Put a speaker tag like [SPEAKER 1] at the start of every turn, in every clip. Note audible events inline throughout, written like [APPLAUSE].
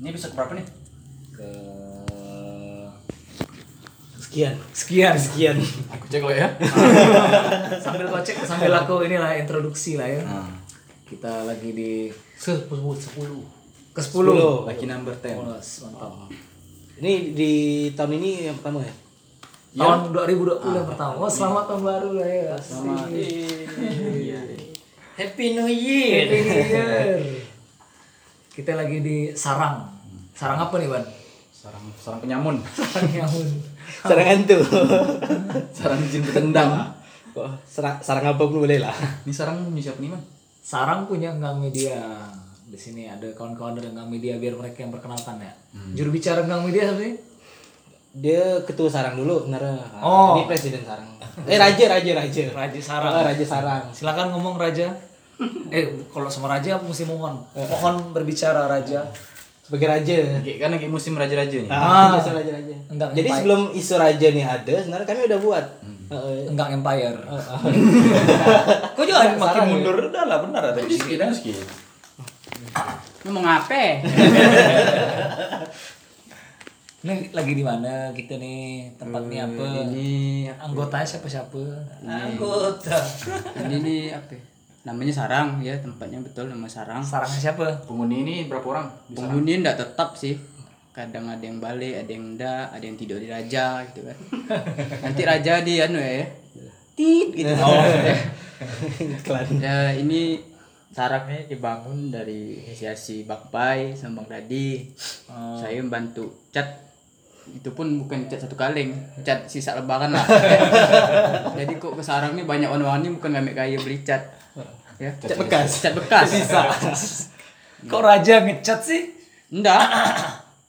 [SPEAKER 1] Ini bisa ke berapa nih? Ke
[SPEAKER 2] Sekian.
[SPEAKER 3] Sekian. Ah.
[SPEAKER 2] Sekian.
[SPEAKER 4] [LAUGHS] Aku cek lo ya.
[SPEAKER 3] sambil kau cek sambil aku inilah introduksi lah ya.
[SPEAKER 1] nah,
[SPEAKER 3] Kita lagi di
[SPEAKER 4] Sepuluh sepuluh.
[SPEAKER 3] ke 10.
[SPEAKER 1] lucky number 10.
[SPEAKER 3] Polos, mantap.
[SPEAKER 2] Ah. Ini di tahun ini yang pertama ya? Ah.
[SPEAKER 3] Tahun
[SPEAKER 4] Iya.
[SPEAKER 3] 2020 yang pertama. Oh, selamat tahun baru lah ya. Selamat
[SPEAKER 4] Iya.
[SPEAKER 1] Happy New Year.
[SPEAKER 3] Kita lagi di sarang. Sarang apa nih,
[SPEAKER 2] [LAUGHS]
[SPEAKER 3] Ban?
[SPEAKER 1] Sarang sarang penyamun, [LAUGHS]
[SPEAKER 3] Sarang nyahun.
[SPEAKER 2] Serangan tuh.
[SPEAKER 1] sarang jin bertendang.
[SPEAKER 2] Wah, serang, serang apa pun boleh lah.
[SPEAKER 1] [LAUGHS] Ini sarang punya siapa nih, Man?
[SPEAKER 3] Sarang punya Gang Media. Di sini ada kawan-kawan dari Gang Media biar mereka yang perkenalkan ya. Juru bicara Gang Media siapa sih?
[SPEAKER 2] Dia ketua sarang dulu sebenarnya. Ah,
[SPEAKER 3] Oh.
[SPEAKER 2] Ini presiden sarang. Eh raja raja raja.
[SPEAKER 3] Raja Sarang.
[SPEAKER 2] Ah, raja sarang.
[SPEAKER 3] Silakan ngomong
[SPEAKER 2] [LAUGHS]
[SPEAKER 3] Raja. Eh, kalau sama Raja mesti mohon.
[SPEAKER 2] Eh.
[SPEAKER 3] Mohon berbicara Raja.
[SPEAKER 2] Sebagai raja.
[SPEAKER 1] Lagi- Kan lagi musim raja-rajanya.
[SPEAKER 2] Ah, raja raja. raja.
[SPEAKER 3] Enggak,
[SPEAKER 2] Jadi
[SPEAKER 3] Pak.
[SPEAKER 2] sebelum isu raja nih ada, sebenarnya kami udah buat.
[SPEAKER 5] Hmm.
[SPEAKER 2] Heeh.
[SPEAKER 3] Enggak Empire.
[SPEAKER 2] Oh,
[SPEAKER 3] [LAUGHS] Kok jangan makin
[SPEAKER 2] ya?
[SPEAKER 3] mundur udah lah benar ada.
[SPEAKER 1] Sikit dan sikit.
[SPEAKER 5] Lu mau ngape?
[SPEAKER 3] Ini lagi di mana kita nih? Tempatnya apa?
[SPEAKER 2] Hmm,
[SPEAKER 5] ini
[SPEAKER 3] Anggotanya siapa-siapa?
[SPEAKER 5] anggota. Ini nih apa? ya? Namanya sarang ya tempatnya betul nama sarang.
[SPEAKER 3] Sarangnya siapa?
[SPEAKER 1] Penghuni ini berapa orang? Bisa
[SPEAKER 5] Penghuni ndak tetap sih. Kadang ada yang balik, ada yang ndak, ada yang tidur di raja gitu [LAUGHS] kan. Nanti raja di anu ya. Tit gitu. [LAUGHS]
[SPEAKER 2] Iklan.
[SPEAKER 5] Ya ini sarangnya dibangun dari inisiasi Bakpai sama Bang Radi. Saya membantu cat itu pun bukan cat satu kaleng, cat sisa [LAUGHS] lebaran lah. Jadi kok ke sarang ini banyak orang-orang ini bukan ngambil kaya beli cat. Ya, cat, bekas, cat bekas. Sisa.
[SPEAKER 3] Kok Raja ngecat sih?
[SPEAKER 5] Enggak.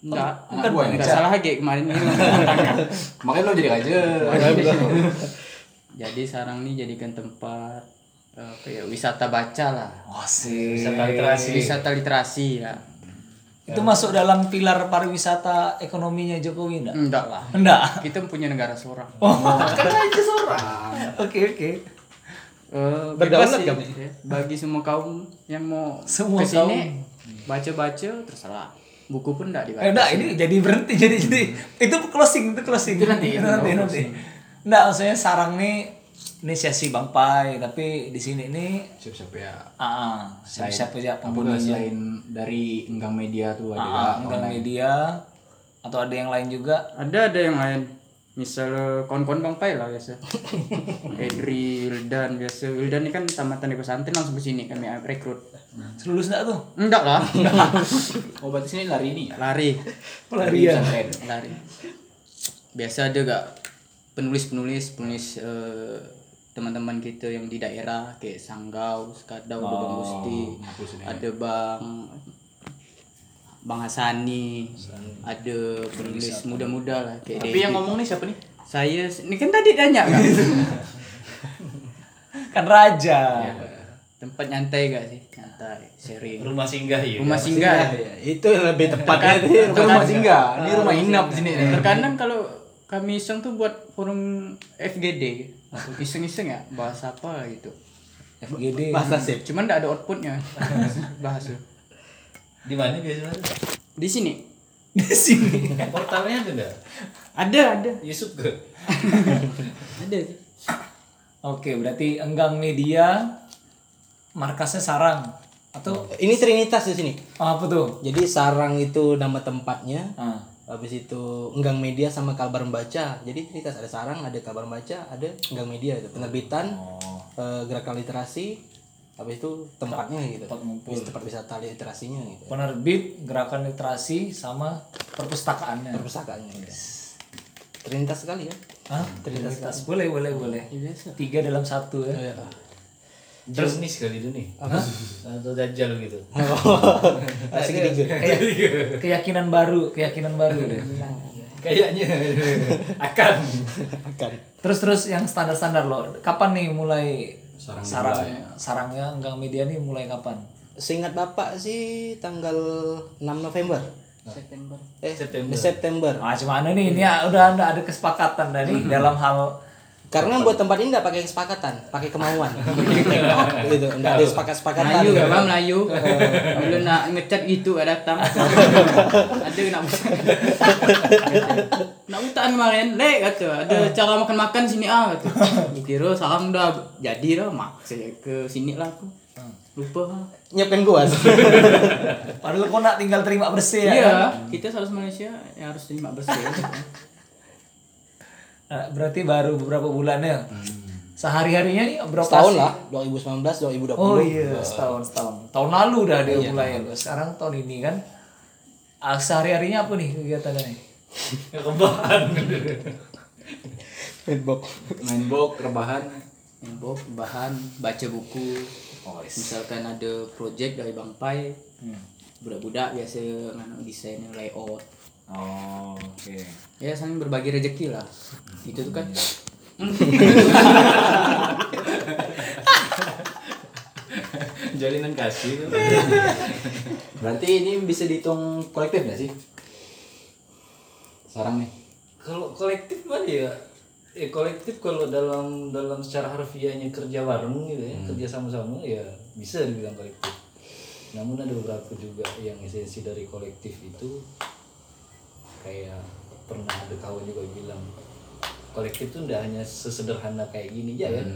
[SPEAKER 5] Enggak,
[SPEAKER 1] Bukan buah yang
[SPEAKER 5] enggak
[SPEAKER 1] ngecat.
[SPEAKER 5] salah lagi kemarin ini.
[SPEAKER 1] Makanya lo jadi raja. [LAUGHS]
[SPEAKER 5] Jadi sarang ini jadikan tempat eh, apa ya, wisata baca lah.
[SPEAKER 3] Wah sih.
[SPEAKER 5] Wisata literasi ya.
[SPEAKER 3] Itu masuk dalam pilar pariwisata ekonominya Jokowi enggak?
[SPEAKER 5] Enggak lah.
[SPEAKER 3] Enggak.
[SPEAKER 5] Kita punya negara seorang.
[SPEAKER 3] Oke, oke.
[SPEAKER 5] Eh,
[SPEAKER 2] Berdaulat
[SPEAKER 5] bebas sih,
[SPEAKER 2] kami.
[SPEAKER 5] ya. Bagi semua kaum yang mau
[SPEAKER 3] Semua
[SPEAKER 5] ke sini baca-baca terserah. Buku pun
[SPEAKER 3] Eh,
[SPEAKER 5] enggak dibaca.
[SPEAKER 3] enggak, ini jadi berhenti jadi jadi itu closing itu closing. Itu nanti nanti. nanti. Enggak, maksudnya sarang nih ini sesi Bang Pai, tapi di sini ini
[SPEAKER 1] Siapa-siapa ya?
[SPEAKER 3] ah, ah, siapa-siapa aja
[SPEAKER 1] Udah
[SPEAKER 3] pembunuhnya.
[SPEAKER 1] selain dari enggang media tuh
[SPEAKER 3] Ah,
[SPEAKER 1] ada
[SPEAKER 3] Enggang media atau ada yang lain juga.
[SPEAKER 5] Ada ada yang lain. Misal kawan-kawan Bang Pai lah biasa. Edri, Wildan biasa. Wildan ini kan tamatan di pesantren langsung ke sini kami rekrut.
[SPEAKER 3] Lulus enggak tuh?
[SPEAKER 5] Enggak lah.
[SPEAKER 1] Oh, berarti sini lari ini ya?
[SPEAKER 5] [LAUGHS] Lari.
[SPEAKER 3] Pelarian.
[SPEAKER 1] Pesantren.
[SPEAKER 5] Lari. Biasa ada gak penulis-penulis, penulis eh, teman-teman kita yang di daerah kayak Sanggau, Sekadau, Bang Gusti, ada Bang Bang Hasani, ada penulis muda-muda lah kayak
[SPEAKER 1] Tapi
[SPEAKER 5] Dedi.
[SPEAKER 1] yang ngomong nih siapa nih?
[SPEAKER 5] saya ini kan tadi tanya kan
[SPEAKER 3] Kan raja.
[SPEAKER 5] tempat nyantai gak sih nyantai sharing
[SPEAKER 6] rumah singgah ya
[SPEAKER 5] rumah singgah
[SPEAKER 2] Ya, itu lebih tepatnya itu
[SPEAKER 1] Itu rumah singgah, ini rumah inap di sini. nih.
[SPEAKER 5] Terkadang kalau kami iseng tuh buat forum FGD iseng-iseng ya bahas apa gitu.
[SPEAKER 3] FGD.
[SPEAKER 2] bahasa sip.
[SPEAKER 5] Cuman enggak ada
[SPEAKER 2] [LAUGHS]
[SPEAKER 5] outputnya bahas tuh.
[SPEAKER 6] di mana biasanya
[SPEAKER 5] Di sini
[SPEAKER 3] Di sini.
[SPEAKER 6] portalnya ada nggak
[SPEAKER 5] ada ada
[SPEAKER 6] Yusuf ke
[SPEAKER 5] ada.
[SPEAKER 3] Oke, berarti Enggang Media markasnya sarang atau
[SPEAKER 2] Ini trinitas di sini.
[SPEAKER 3] apa tuh?
[SPEAKER 2] Jadi sarang itu nama tempatnya.
[SPEAKER 3] Ah.
[SPEAKER 2] Habis itu enggang media sama kabar membaca. Jadi trinitas ada sarang, ada kabar membaca, ada enggang media itu penerbitan,
[SPEAKER 3] Oh.
[SPEAKER 2] eh, gerakan literasi. Habis itu tempatnya gitu.
[SPEAKER 3] Tempat ngumpul.
[SPEAKER 2] Habis tempat wisata literasinya gitu.
[SPEAKER 3] penerbit gerakan literasi sama perpustakaannya
[SPEAKER 2] Perpustakaannya. gitu. Trinitas sekali ya.
[SPEAKER 3] Hah? Trinitas boleh boleh boleh tiga dalam satu
[SPEAKER 6] Oh, iya.
[SPEAKER 3] ya
[SPEAKER 6] terus nih sekali itu nih atau dajal gitu [LAUGHS]
[SPEAKER 3] Kayak-
[SPEAKER 6] Iya.
[SPEAKER 3] keyakinan baru keyakinan baru deh
[SPEAKER 2] [LAUGHS]
[SPEAKER 6] kayaknya akan
[SPEAKER 2] Akan.
[SPEAKER 3] terus terus yang standar standar loh kapan nih mulai sarang sarang
[SPEAKER 6] ya?
[SPEAKER 3] sarangnya enggang media nih mulai kapan
[SPEAKER 2] Seingat Bapak sih tanggal 6 November.
[SPEAKER 5] September.
[SPEAKER 2] Eh,
[SPEAKER 6] September.
[SPEAKER 2] September. Iya. [LAUGHS]
[SPEAKER 3] ah cuman ini ini ya, udah udah ada kesepakatan dah nih dalam hal
[SPEAKER 2] Karena buat tempat ini nggak pakai kesepakatan, pakai kemauan. gitu, nggak ada sepakat-sepakatan.
[SPEAKER 5] Melayu apa Melayu? eh, Bila nak ngecat itu ada datang. ada nak buat. nak hutan kemarin, lek kata. Ada cara makan-makan sini ah kata. Aku kira salam dah jadi dah mak. Saya ke sini lah aku. Lupa. ah.
[SPEAKER 2] Nyiapkan gua.
[SPEAKER 3] Padahal kau nak tinggal terima bersih
[SPEAKER 5] Iya,
[SPEAKER 3] ya. kan?
[SPEAKER 5] kita harus Malaysia yang harus terima bersih.
[SPEAKER 3] Nah, berarti baru beberapa bulannya. Sehari-harinya nih berapa
[SPEAKER 2] Hmm. Setahun
[SPEAKER 3] sih?
[SPEAKER 2] lah, 2019, 2020.
[SPEAKER 3] Oh iya, setahun setahun. Tahun lalu dah
[SPEAKER 2] Iya,
[SPEAKER 3] dia mulai. Sekarang tahun ini kan. Ah, Sehari-harinya apa nih kegiatannya nih?
[SPEAKER 1] main box rebahan
[SPEAKER 5] Inbox, bahan, baca buku. Misalkan ada project dari Bang Pai, budak-budak biasa nganu desain layout.
[SPEAKER 3] Oh, oke.
[SPEAKER 5] Ya saling berbagi rezeki lah. Itu tuh kan.
[SPEAKER 6] Jalinan kasih.
[SPEAKER 1] berarti ini bisa dihitung kolektif nggak sih sarang nih
[SPEAKER 6] Kalau kolektif mana ya? Eh kolektif kalau dalam dalam secara harfiahnya kerja bareng gitu ya, kerja sama-sama ya bisa dibilang kolektif. Namun ada beberapa juga yang esensi dari kolektif itu kayak pernah ada kawan juga bilang kolektif itu tidak hanya sesederhana kayak gini aja kan.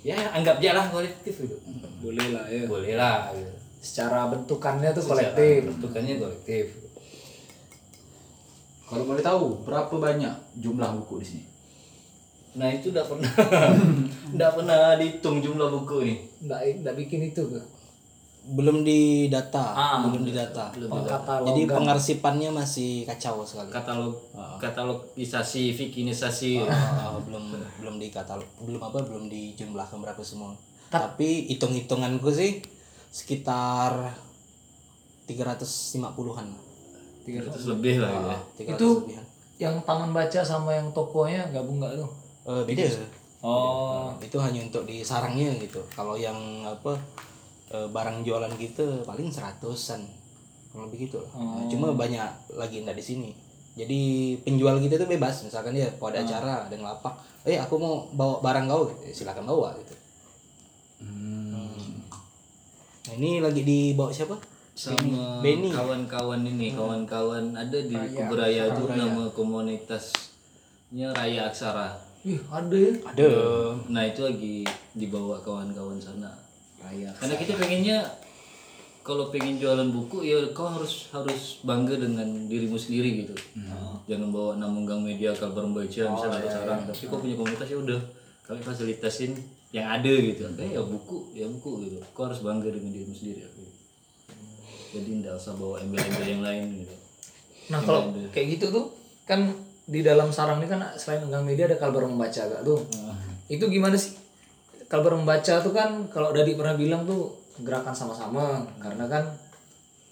[SPEAKER 6] Ya anggap aja lah kolektif gitu.
[SPEAKER 1] boleh lah ya
[SPEAKER 6] Boleh lah gitu.
[SPEAKER 3] Secara bentukannya tuh
[SPEAKER 6] Secara
[SPEAKER 3] kolektif.
[SPEAKER 6] bentukannya kolektif.
[SPEAKER 1] kalau boleh tahu berapa banyak jumlah buku di sini
[SPEAKER 6] Nah itu tidak
[SPEAKER 2] [LAUGHS]
[SPEAKER 6] pernah tidak pernah dihitung jumlah buku ini.
[SPEAKER 3] Nggak, nggak bikin itu ke?
[SPEAKER 2] Belum didata,
[SPEAKER 3] Ah,
[SPEAKER 2] belum didata.
[SPEAKER 3] Oh, Pengkatalogan.
[SPEAKER 2] Jadi pengarsipannya masih kacau sekali.
[SPEAKER 6] Katalog katalogisasi fikinisasi.
[SPEAKER 2] Ah, belum belum dikata belum apa belum dijumlahkan berapa semua tapi hitung hitunganku sih sekitar 350-an
[SPEAKER 6] 300 lebih lah ya.
[SPEAKER 2] 300
[SPEAKER 3] Itu-
[SPEAKER 2] Ah, lebihan.
[SPEAKER 3] Yang taman baca sama yang tokonya gabung nggak tuh?
[SPEAKER 2] Eh, beda Nah,
[SPEAKER 3] Oh.
[SPEAKER 2] itu hanya untuk di sarangnya gitu kalau yang apa eh, barang jualan gitu paling seratusan kalau begitu lah. Nah, cuma banyak lagi ndak di sini jadi penjual kita tuh bebas misalkan dia kalau ada acara ada ngelapak eh aku mau bawa barang kau Eh, silakan bawa gitu Hmm. Nah, ini lagi dibawa siapa?
[SPEAKER 6] Sama
[SPEAKER 2] Benny.
[SPEAKER 6] kawan-kawan ini, kawan-kawan ada di Kuburaya itu nama komunitasnya Raya Aksara.
[SPEAKER 3] Ih, ada ya.
[SPEAKER 2] Ada.
[SPEAKER 6] Nah itu lagi dibawa kawan-kawan sana. Karena kita pengennya kalau pengen jualan buku ya kau harus harus bangga dengan dirimu sendiri gitu. Jangan bawa nama gang media kalbar membaca misalnya atau sarang. Tapi kau punya komunitas ya udah kami fasilitasin yang ada gitu. Kayak ya buku ya buku gitu. Kau harus bangga dengan dirimu sendiri. Aku. Jadi tidak usah bawa embel-embel yang lain gitu.
[SPEAKER 3] Nah kalau kayak gitu tuh kan di dalam sarang ini kan selain Gang Media ada Kalbar Membaca gak tuh? Itu gimana sih? Kalbar Membaca tuh kan kalau Dadi pernah bilang tuh gerakan sama-sama karena kan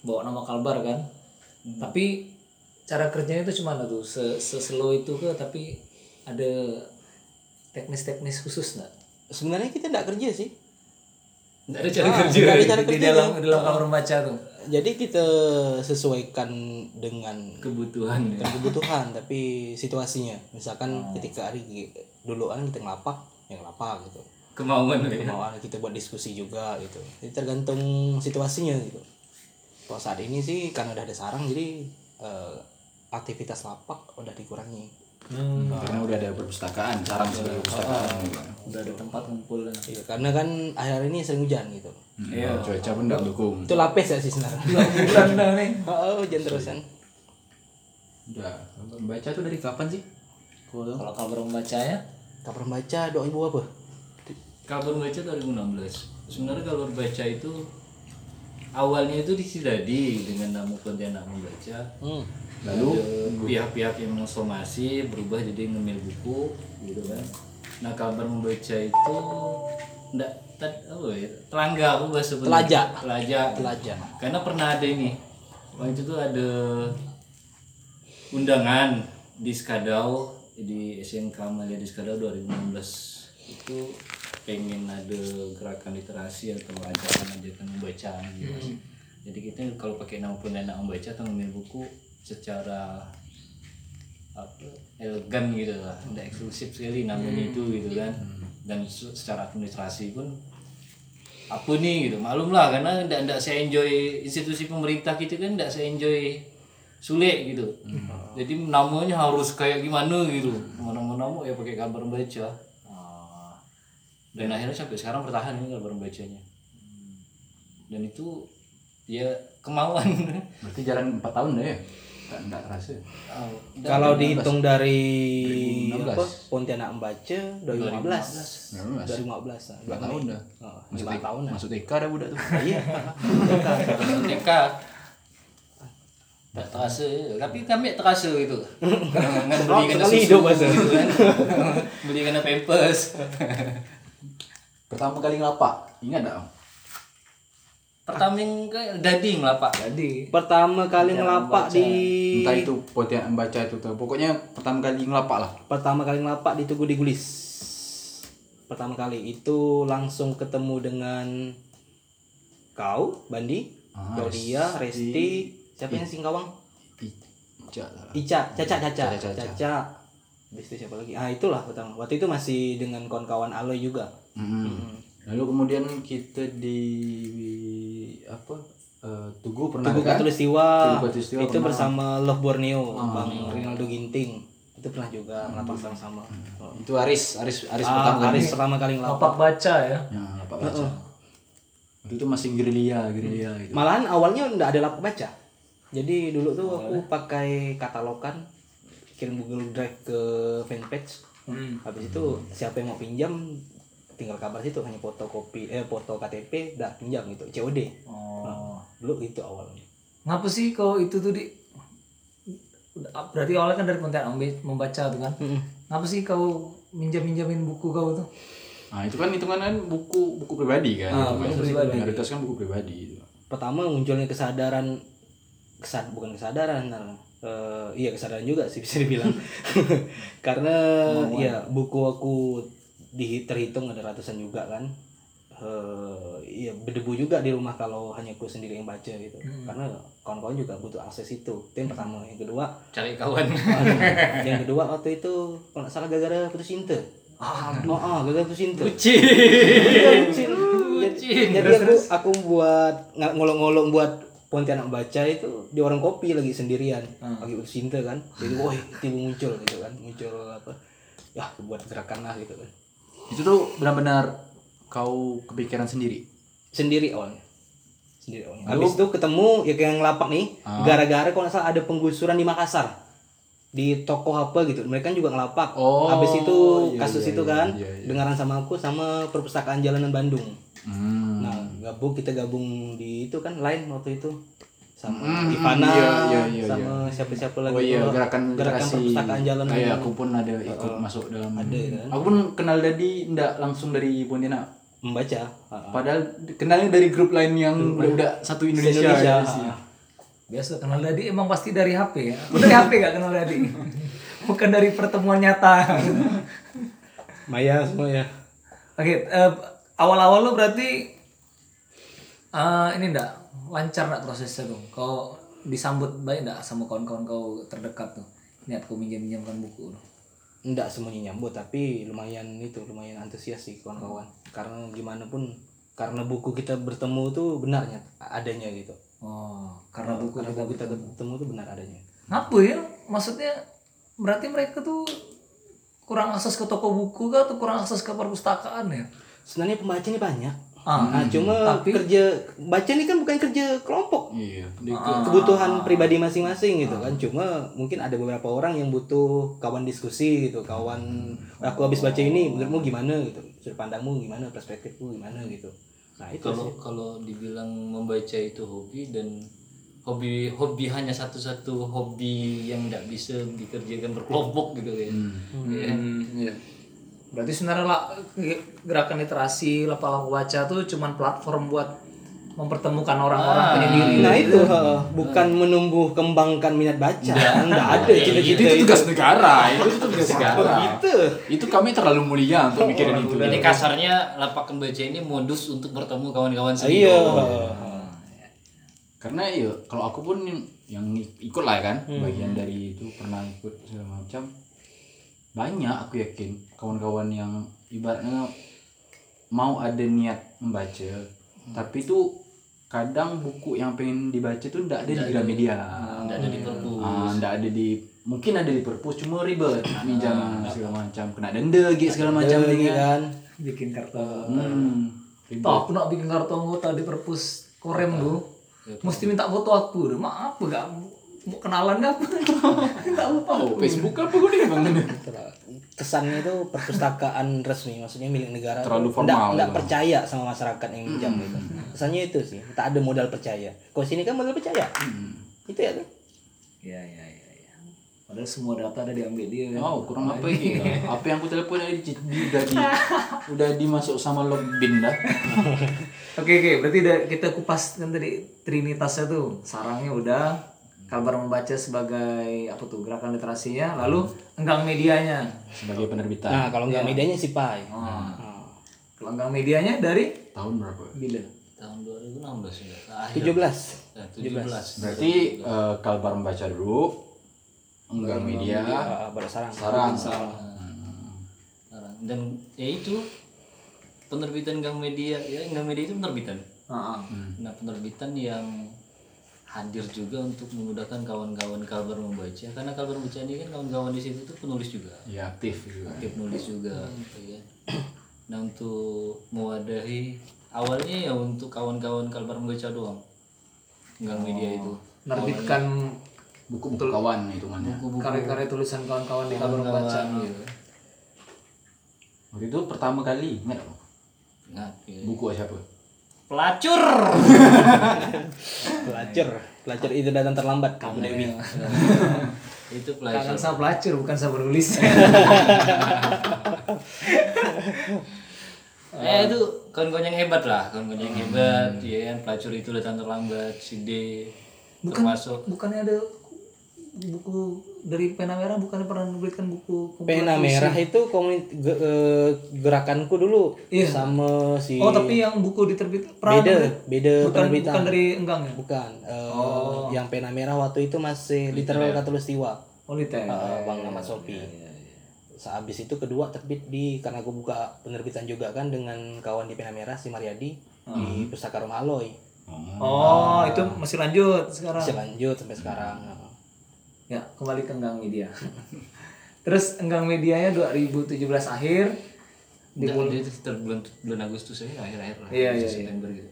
[SPEAKER 3] bawa nama Kalbar kan. Tapi cara kerjanya itu cuma tuh se seslow itu ke tapi ada teknis-teknis khusus nggak?
[SPEAKER 2] Sebenarnya kita ndak kerja sih.
[SPEAKER 6] Tidak ada cara
[SPEAKER 2] Ah,
[SPEAKER 6] kerja.
[SPEAKER 2] nggak ada cara
[SPEAKER 3] Di
[SPEAKER 2] kerja.
[SPEAKER 3] dalam di dalam Kalbar Membaca tuh.
[SPEAKER 2] Jadi kita sesuaikan dengan
[SPEAKER 6] kebutuhan ya. Oh.
[SPEAKER 2] kebutuhan tapi situasinya. Misalkan ketika hari dulu kan kita ngelapak, ya ngelapak gitu.
[SPEAKER 6] kemauan ya.
[SPEAKER 2] Kemauan kita buat diskusi juga gitu. Jadi tergantung situasinya gitu. Kalau saat ini sih karena udah ada sarang jadi eh, aktivitas lapak udah dikurangi.
[SPEAKER 6] Hmm.
[SPEAKER 1] karena udah ada perpustakaan sarang sebagai perpustakaan
[SPEAKER 6] Ah.
[SPEAKER 3] Udah ada tempat kumpul dan
[SPEAKER 2] Iya, karena kan akhir-akhir ini sering hujan gitu.
[SPEAKER 1] Iya, cuaca pun nggak mendukung
[SPEAKER 2] Itu lapis ya sih sebenarnya.
[SPEAKER 3] bulan dah
[SPEAKER 2] [LAUGHS]
[SPEAKER 3] nih.
[SPEAKER 2] Oh, hujan terusan.
[SPEAKER 1] udah baca tuh dari kapan sih
[SPEAKER 3] Kalau Kalbar Membacanya
[SPEAKER 2] Kapan baca doa ibu apa?
[SPEAKER 6] Kabar baca 2016. Sebenarnya kabar baca itu awalnya itu di Sidadi dengan nama Pontianak membaca.
[SPEAKER 2] Hmm.
[SPEAKER 6] Lalu pihak-pihak yang mensomasi berubah jadi ngemil buku gitu kan. Nah kabar membaca itu ndak tet- apa ya? Telangga aku bahasa Bali.
[SPEAKER 2] Telajak.
[SPEAKER 6] Telajak.
[SPEAKER 2] Telajak.
[SPEAKER 6] Karena pernah ada ini. Waktu itu ada undangan di Skadau di SMK Malia di Skadau 2016 itu pengen ada gerakan literasi atau ajakan-ajakan membaca gitu. Mas. Jadi kita kalau pakai nama pun anak membaca atau ngambil buku secara apa, elegan gitu lah udah eksklusif sekali namanya itu gitu kan dan se- secara administrasi pun apa nih gitu maklum lah karena ndak ndak saya enjoy institusi pemerintah gitu kan ndak saya enjoy sulit gitu jadi namanya harus kayak gimana gitu mana mana mau ya pakai gambar membaca Ah. dan akhirnya sampai sekarang bertahan ini gambar membacanya dan itu ya kemauan
[SPEAKER 1] Berarti jalan 4 tahun deh ya? Nggak, nggak terasa.
[SPEAKER 6] Ah, dan
[SPEAKER 2] Kalau dihitung dari apa, Pontianak Membaca 2015.
[SPEAKER 1] 2015. 2
[SPEAKER 2] 2015.
[SPEAKER 1] tahun dah.
[SPEAKER 2] Oh,
[SPEAKER 1] Masuk
[SPEAKER 2] lima
[SPEAKER 1] TK,
[SPEAKER 2] tahun lah.
[SPEAKER 1] Masuk TK dah budak tu.
[SPEAKER 2] [LAUGHS] Iya.
[SPEAKER 6] TK tak terasa je. tapi kami terasa gitu dengan beli kena
[SPEAKER 2] sekali Kan
[SPEAKER 6] susu
[SPEAKER 2] hidup rasa.
[SPEAKER 6] gitu kan [LAUGHS] beli kena pampers [LAUGHS]
[SPEAKER 1] Pertama kali ngelapak. Ingat tak? Om?
[SPEAKER 6] pertama ke daging lah pak
[SPEAKER 3] Jadi
[SPEAKER 2] Pertama kali ngelapak di
[SPEAKER 1] Entah itu Pontianak membaca itu tu. Pokoknya pertama kali ngelapak lah.
[SPEAKER 2] pertama kali ngelapak di Tugu di Gulis. Pertama kali itu langsung ketemu dengan kau, Bandi, Claudia, Resti, siapa yang singkawang?
[SPEAKER 1] Pijak lah.
[SPEAKER 2] Ica, Caca, Caca,
[SPEAKER 1] Caca, Caca.
[SPEAKER 2] Caca. Habis itu siapa lagi? Ah, itulah pertama. Waktu itu masih dengan kawan-kawan Aloy juga.
[SPEAKER 1] Hmm. Lalu kemudian kita di apa eh, Tugu pernah
[SPEAKER 2] Tugu
[SPEAKER 1] kan?
[SPEAKER 2] Katulistiwa
[SPEAKER 1] Tugu Katulistiwa
[SPEAKER 2] itu
[SPEAKER 1] pernah.
[SPEAKER 2] bersama Love Borneo, Bang Rinaldo Ginting. Itu pernah juga ngelapak sama-sama. Oh.
[SPEAKER 1] Itu Aris, Aris, Aris Hmm. pertama
[SPEAKER 2] Ah,
[SPEAKER 1] kali.
[SPEAKER 2] Aris pertama kali ngelapak.
[SPEAKER 3] lapak baca ya.
[SPEAKER 1] Ya, Pak Baca. Itu tuh masih gerilya, gerilya gitu.
[SPEAKER 2] Malahan awalnya nggak ada lapak baca. Jadi dulu tuh aku pakai katalogan kirim Google Drive ke fanpage. Habis itu siapa yang mau pinjam tinggal kabar situ hanya fotokopi eh foto KTP dah pinjam gitu COD.
[SPEAKER 3] Oh.
[SPEAKER 2] Nah, Dulu itu awalnya.
[SPEAKER 3] Ngapa sih kau itu tuh di berarti awalnya kan dari konten membaca tuh kan. Ngapa sih kau minjam-minjamin buku kau tuh?
[SPEAKER 1] Nah, itu kan hitungan kan buku buku pribadi kan. Ah, buku pribadi. Mayoritas kan buku pribadi gitu.
[SPEAKER 2] Pertama munculnya kesadaran kesad bukan kesadaran nah, eh, iya kesadaran juga sih bisa dibilang. [LAUGHS] Karena ya buku aku di terhitung ada ratusan juga kan. Eh, iya berdebu juga di rumah kalau hanya aku sendiri yang baca gitu. Karena kawan-kawan juga butuh akses itu. Itu yang pertama. Yang kedua Ah, iya. [LAUGHS]
[SPEAKER 6] cari kawan
[SPEAKER 2] yang kedua waktu itu kalau nggak salah gara-gara putus cinta oh, oh gara-gara putus cinta Iya, bucin. Jadi, jadi aku, aku buat ng- ngolong-ngolong buat Pontianak baca itu di orang kopi lagi sendirian
[SPEAKER 1] Hmm.
[SPEAKER 2] lagi putus cinta kan jadi woi tiba muncul gitu kan muncul apa ya aku buat gerakan lah gitu kan
[SPEAKER 1] Itu tuh benar-benar kau kepikiran sendiri.
[SPEAKER 2] sendiri awalnya sendiri awalnya habis itu ketemu ya kayak yang lapak nih
[SPEAKER 1] Ah.
[SPEAKER 2] gara-gara kalau nggak salah ada penggusuran di Makassar di toko apa gitu mereka juga ngelapak
[SPEAKER 1] Oh,
[SPEAKER 2] habis itu
[SPEAKER 1] iya,
[SPEAKER 2] kasus
[SPEAKER 1] iya,
[SPEAKER 2] itu
[SPEAKER 1] iya,
[SPEAKER 2] kan
[SPEAKER 1] iya, iya.
[SPEAKER 2] dengaran sama aku sama perpustakaan jalanan Bandung
[SPEAKER 1] Hmm.
[SPEAKER 2] nah gabung kita gabung di itu kan lain waktu itu sama Ivana
[SPEAKER 1] iya, iya, iya,
[SPEAKER 2] sama siapa-siapa lagi
[SPEAKER 1] Oh iya,
[SPEAKER 2] tuh.
[SPEAKER 1] gerakan
[SPEAKER 2] gerakan
[SPEAKER 1] literasi.
[SPEAKER 2] perpustakaan jalanan
[SPEAKER 1] Ah, iya,
[SPEAKER 2] Bandung.
[SPEAKER 1] aku pun ada ikut masuk dalam.
[SPEAKER 2] ah. ada kan?
[SPEAKER 1] Aku pun kenal Dadi enggak langsung dari Pontianak.
[SPEAKER 2] membaca Ah, ah.
[SPEAKER 1] Padahal kenalnya dari grup lain yang udah satu Indonesia. ya,
[SPEAKER 2] Indonesia,
[SPEAKER 1] sih.
[SPEAKER 2] ah.
[SPEAKER 3] Biasa kenal Dadi emang pasti dari HP ya. Aku dari HP gak kenal
[SPEAKER 6] [LAUGHS]
[SPEAKER 3] Dadi. Bukan dari pertemuan nyata.
[SPEAKER 6] [LAUGHS]
[SPEAKER 2] Maya semua ya
[SPEAKER 3] Oke, eh, awal-awal lo berarti eh, ini ndak lancar ndak prosesnya tuh. Kau disambut baik ndak sama kawan-kawan kau terdekat tuh. Niat kau minjam-minjamkan buku lo.
[SPEAKER 2] enggak semuanya nyambut tapi lumayan itu lumayan antusias sih kawan-kawan karena gimana pun karena buku kita bertemu tuh benarnya adanya gitu
[SPEAKER 3] Oh, karena buku
[SPEAKER 2] karena
[SPEAKER 3] kita
[SPEAKER 2] buku kita bertemu tuh benar adanya
[SPEAKER 3] Ngapa ya? Maksudnya berarti mereka tuh kurang akses ke toko buku kah atau kurang akses ke perpustakaan ya?
[SPEAKER 2] sebenarnya pembaca ini banyak
[SPEAKER 3] Ah,
[SPEAKER 1] hmm.
[SPEAKER 2] Nah, cuma
[SPEAKER 3] tapi-
[SPEAKER 2] kerja baca ini kan bukan kerja kelompok
[SPEAKER 1] Iya. Dia-
[SPEAKER 2] ah. kebutuhan pribadi masing-masing gitu kan cuma mungkin ada beberapa orang yang butuh kawan diskusi gitu kawan aku habis baca ini menurutmu gimana gitu sudut pandangmu gimana perspektifmu gimana gitu nah itu sih.
[SPEAKER 6] kalau kalau dibilang membaca itu hobi dan hobi hobi hanya satu-satu hobi yang tidak bisa dikerjakan berkelompok gitu ya
[SPEAKER 2] Hmm.
[SPEAKER 3] Berarti sebenarnya la- gerakan literasi lapak-lapak baca tuh cuman platform buat mempertemukan orang-orang punya
[SPEAKER 1] Iya,
[SPEAKER 3] diri.
[SPEAKER 2] Nah itu eh, bukan menumbuh kembangkan minat baca,
[SPEAKER 1] Iya.
[SPEAKER 2] enggak ada
[SPEAKER 1] Itu,
[SPEAKER 2] cita-cita itu.
[SPEAKER 1] tugas negara. Itu tugas negara.
[SPEAKER 2] Itu
[SPEAKER 1] Itu kami terlalu mulia untuk mikirin itu. gitu.
[SPEAKER 6] Jadi
[SPEAKER 2] Ah,
[SPEAKER 6] kasarnya lapak membaca ini modus untuk bertemu kawan-kawan sendiri.
[SPEAKER 2] iya.
[SPEAKER 1] karena ya kalau aku pun yang ik- ikut lah ya kan bagian dari itu pernah ikut segala macam banyak aku yakin kawan-kawan yang ibaratnya mau ada niat membaca tapi tuh kadang buku yang pengen dibaca tuh ndak ada Hmm, di Gramedia
[SPEAKER 6] Nggak ada di perpus.
[SPEAKER 1] Ah, ndak ada di mungkin ada di perpus cuma ribet minjam segala macam kena Ah. denda gitu segala macam
[SPEAKER 2] Ini
[SPEAKER 1] gitu kan
[SPEAKER 2] kan
[SPEAKER 3] bikin kartu
[SPEAKER 1] hmm, ribet.
[SPEAKER 3] Tuh, aku nak bikin kartu anggota di perpus korem tuh. Mesti minta foto aku. Maaf, gak mau kenalan gak? [LAUGHS] Minta foto.
[SPEAKER 1] Oh, Facebook apa gue nih bang [LAUGHS]
[SPEAKER 2] kesannya itu perpustakaan resmi maksudnya milik negara
[SPEAKER 1] Terlalu
[SPEAKER 2] Nggak-
[SPEAKER 1] formal Hmm.
[SPEAKER 2] nggak
[SPEAKER 1] gitu.
[SPEAKER 2] percaya sama masyarakat yang minjam gitu kesannya itu sih tak ada modal percaya kalau sini kan modal percaya
[SPEAKER 1] Hmm.
[SPEAKER 2] itu ya tuh
[SPEAKER 3] Ya, ya, ya, ya. Padahal semua data ada diambil dia kan.
[SPEAKER 1] Oh, kurang apa [LAUGHS] ini? Apa yang aku telepon dari udah di [LAUGHS] udah dimasuk sama login dah.
[SPEAKER 3] Oke, oke. Berarti udah kita kupas kan tadi trinitasnya tuh. Sarangnya udah. Kalbar membaca sebagai apa tuh gerakan literasinya. Lalu enggang medianya.
[SPEAKER 1] Sebagai penerbitan.
[SPEAKER 2] nah kalau nggak medianya sih Nah, pai
[SPEAKER 3] Kalau enggang medianya dari
[SPEAKER 1] Tahun berapa?
[SPEAKER 3] bila?
[SPEAKER 6] tahun 2016 ya akhir
[SPEAKER 2] tujuh belas
[SPEAKER 6] eh, 17
[SPEAKER 1] Berarti eh, Kalbar membaca dulu, enggak media,
[SPEAKER 2] baru sarang
[SPEAKER 1] sarang. Hmm,
[SPEAKER 6] Sekarang. dan ya itu penerbitan Gang Media ya Gang Media itu penerbitan
[SPEAKER 3] Heeh.
[SPEAKER 2] Hmm.
[SPEAKER 6] nah penerbitan yang hadir juga untuk memudahkan kawan-kawan Kalbar membaca karena Kalbar membaca ini kan kawan-kawan di situ tuh penulis juga
[SPEAKER 1] Ya aktif juga.
[SPEAKER 6] aktif nulis juga gitu ya. [CLEARS THROAT] nah untuk mewadahi awalnya ya untuk kawan-kawan Kalbar membaca doang Gang Media itu
[SPEAKER 3] Menerbitkan Oh,
[SPEAKER 1] Buku-buku kawan hitungannya.
[SPEAKER 3] karya-karya tulisan kawan-kawan di Kalbar membaca.
[SPEAKER 6] gitu.
[SPEAKER 1] Waktu itu pertama kali, ingat tak?
[SPEAKER 6] Nah, ya.
[SPEAKER 1] Buku siapa?
[SPEAKER 6] pelacur
[SPEAKER 2] pelacur pelacur itu datang terlambat kamu Dewi
[SPEAKER 6] itu
[SPEAKER 3] Kangen
[SPEAKER 6] pelacur
[SPEAKER 3] sama pelacur bukan sama penulis. [LAUGHS]
[SPEAKER 6] Eh itu kawan-kawan yang hebat lah, kawan-kawan yang hebat, ya kan pelacur itu datang terlambat, si D termasuk
[SPEAKER 3] Bukannya ada buku dari pena merah bukannya pernah menerbitkan buku
[SPEAKER 2] pena merah itu komunit ge- eh, gerakanku dulu sama si
[SPEAKER 3] Oh tapi yang buku diterbit pernah
[SPEAKER 2] beda
[SPEAKER 3] menerbit-
[SPEAKER 2] beda
[SPEAKER 3] bukan,
[SPEAKER 2] penerbitan
[SPEAKER 3] bukan dari enggang ya?
[SPEAKER 2] bukan eh, yang pena merah waktu itu masih literal katulistiwa
[SPEAKER 3] Oh Lita.
[SPEAKER 2] Eh, Bang Ahmad Sopi. Sehabis itu kedua terbit di karena gue buka penerbitan juga kan dengan kawan di Pena Merah si Mariadi di Pustaka Rumah Aloy.
[SPEAKER 3] Oh itu masih lanjut sekarang.
[SPEAKER 2] Masih lanjut sampai sekarang.
[SPEAKER 3] Ya kembali ke enggang media. [LAUGHS] Terus enggang medianya 2017 akhir
[SPEAKER 6] di bulan bulan, bulan Agustus ya akhir-akhir lah,
[SPEAKER 3] Iya, iya,
[SPEAKER 6] September gitu.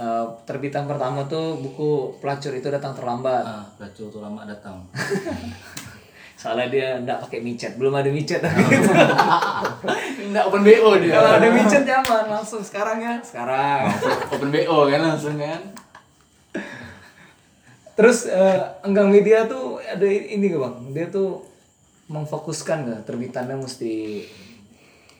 [SPEAKER 3] eh, terbitan pertama tuh buku pelacur itu datang terlambat.
[SPEAKER 6] Ah, pelacur tuh lama datang.
[SPEAKER 3] Soalnya dia nggak pakai micet, belum ada micet.
[SPEAKER 1] Enggak open BO dia.
[SPEAKER 3] [LAUGHS] Kalau ada micet nyaman langsung sekarang ya. Sekarang.
[SPEAKER 1] open BO kan langsung kan.
[SPEAKER 3] Terus eh, Enggang Media tuh ada ini gak bang? Dia tuh memfokuskan gak terbitannya mesti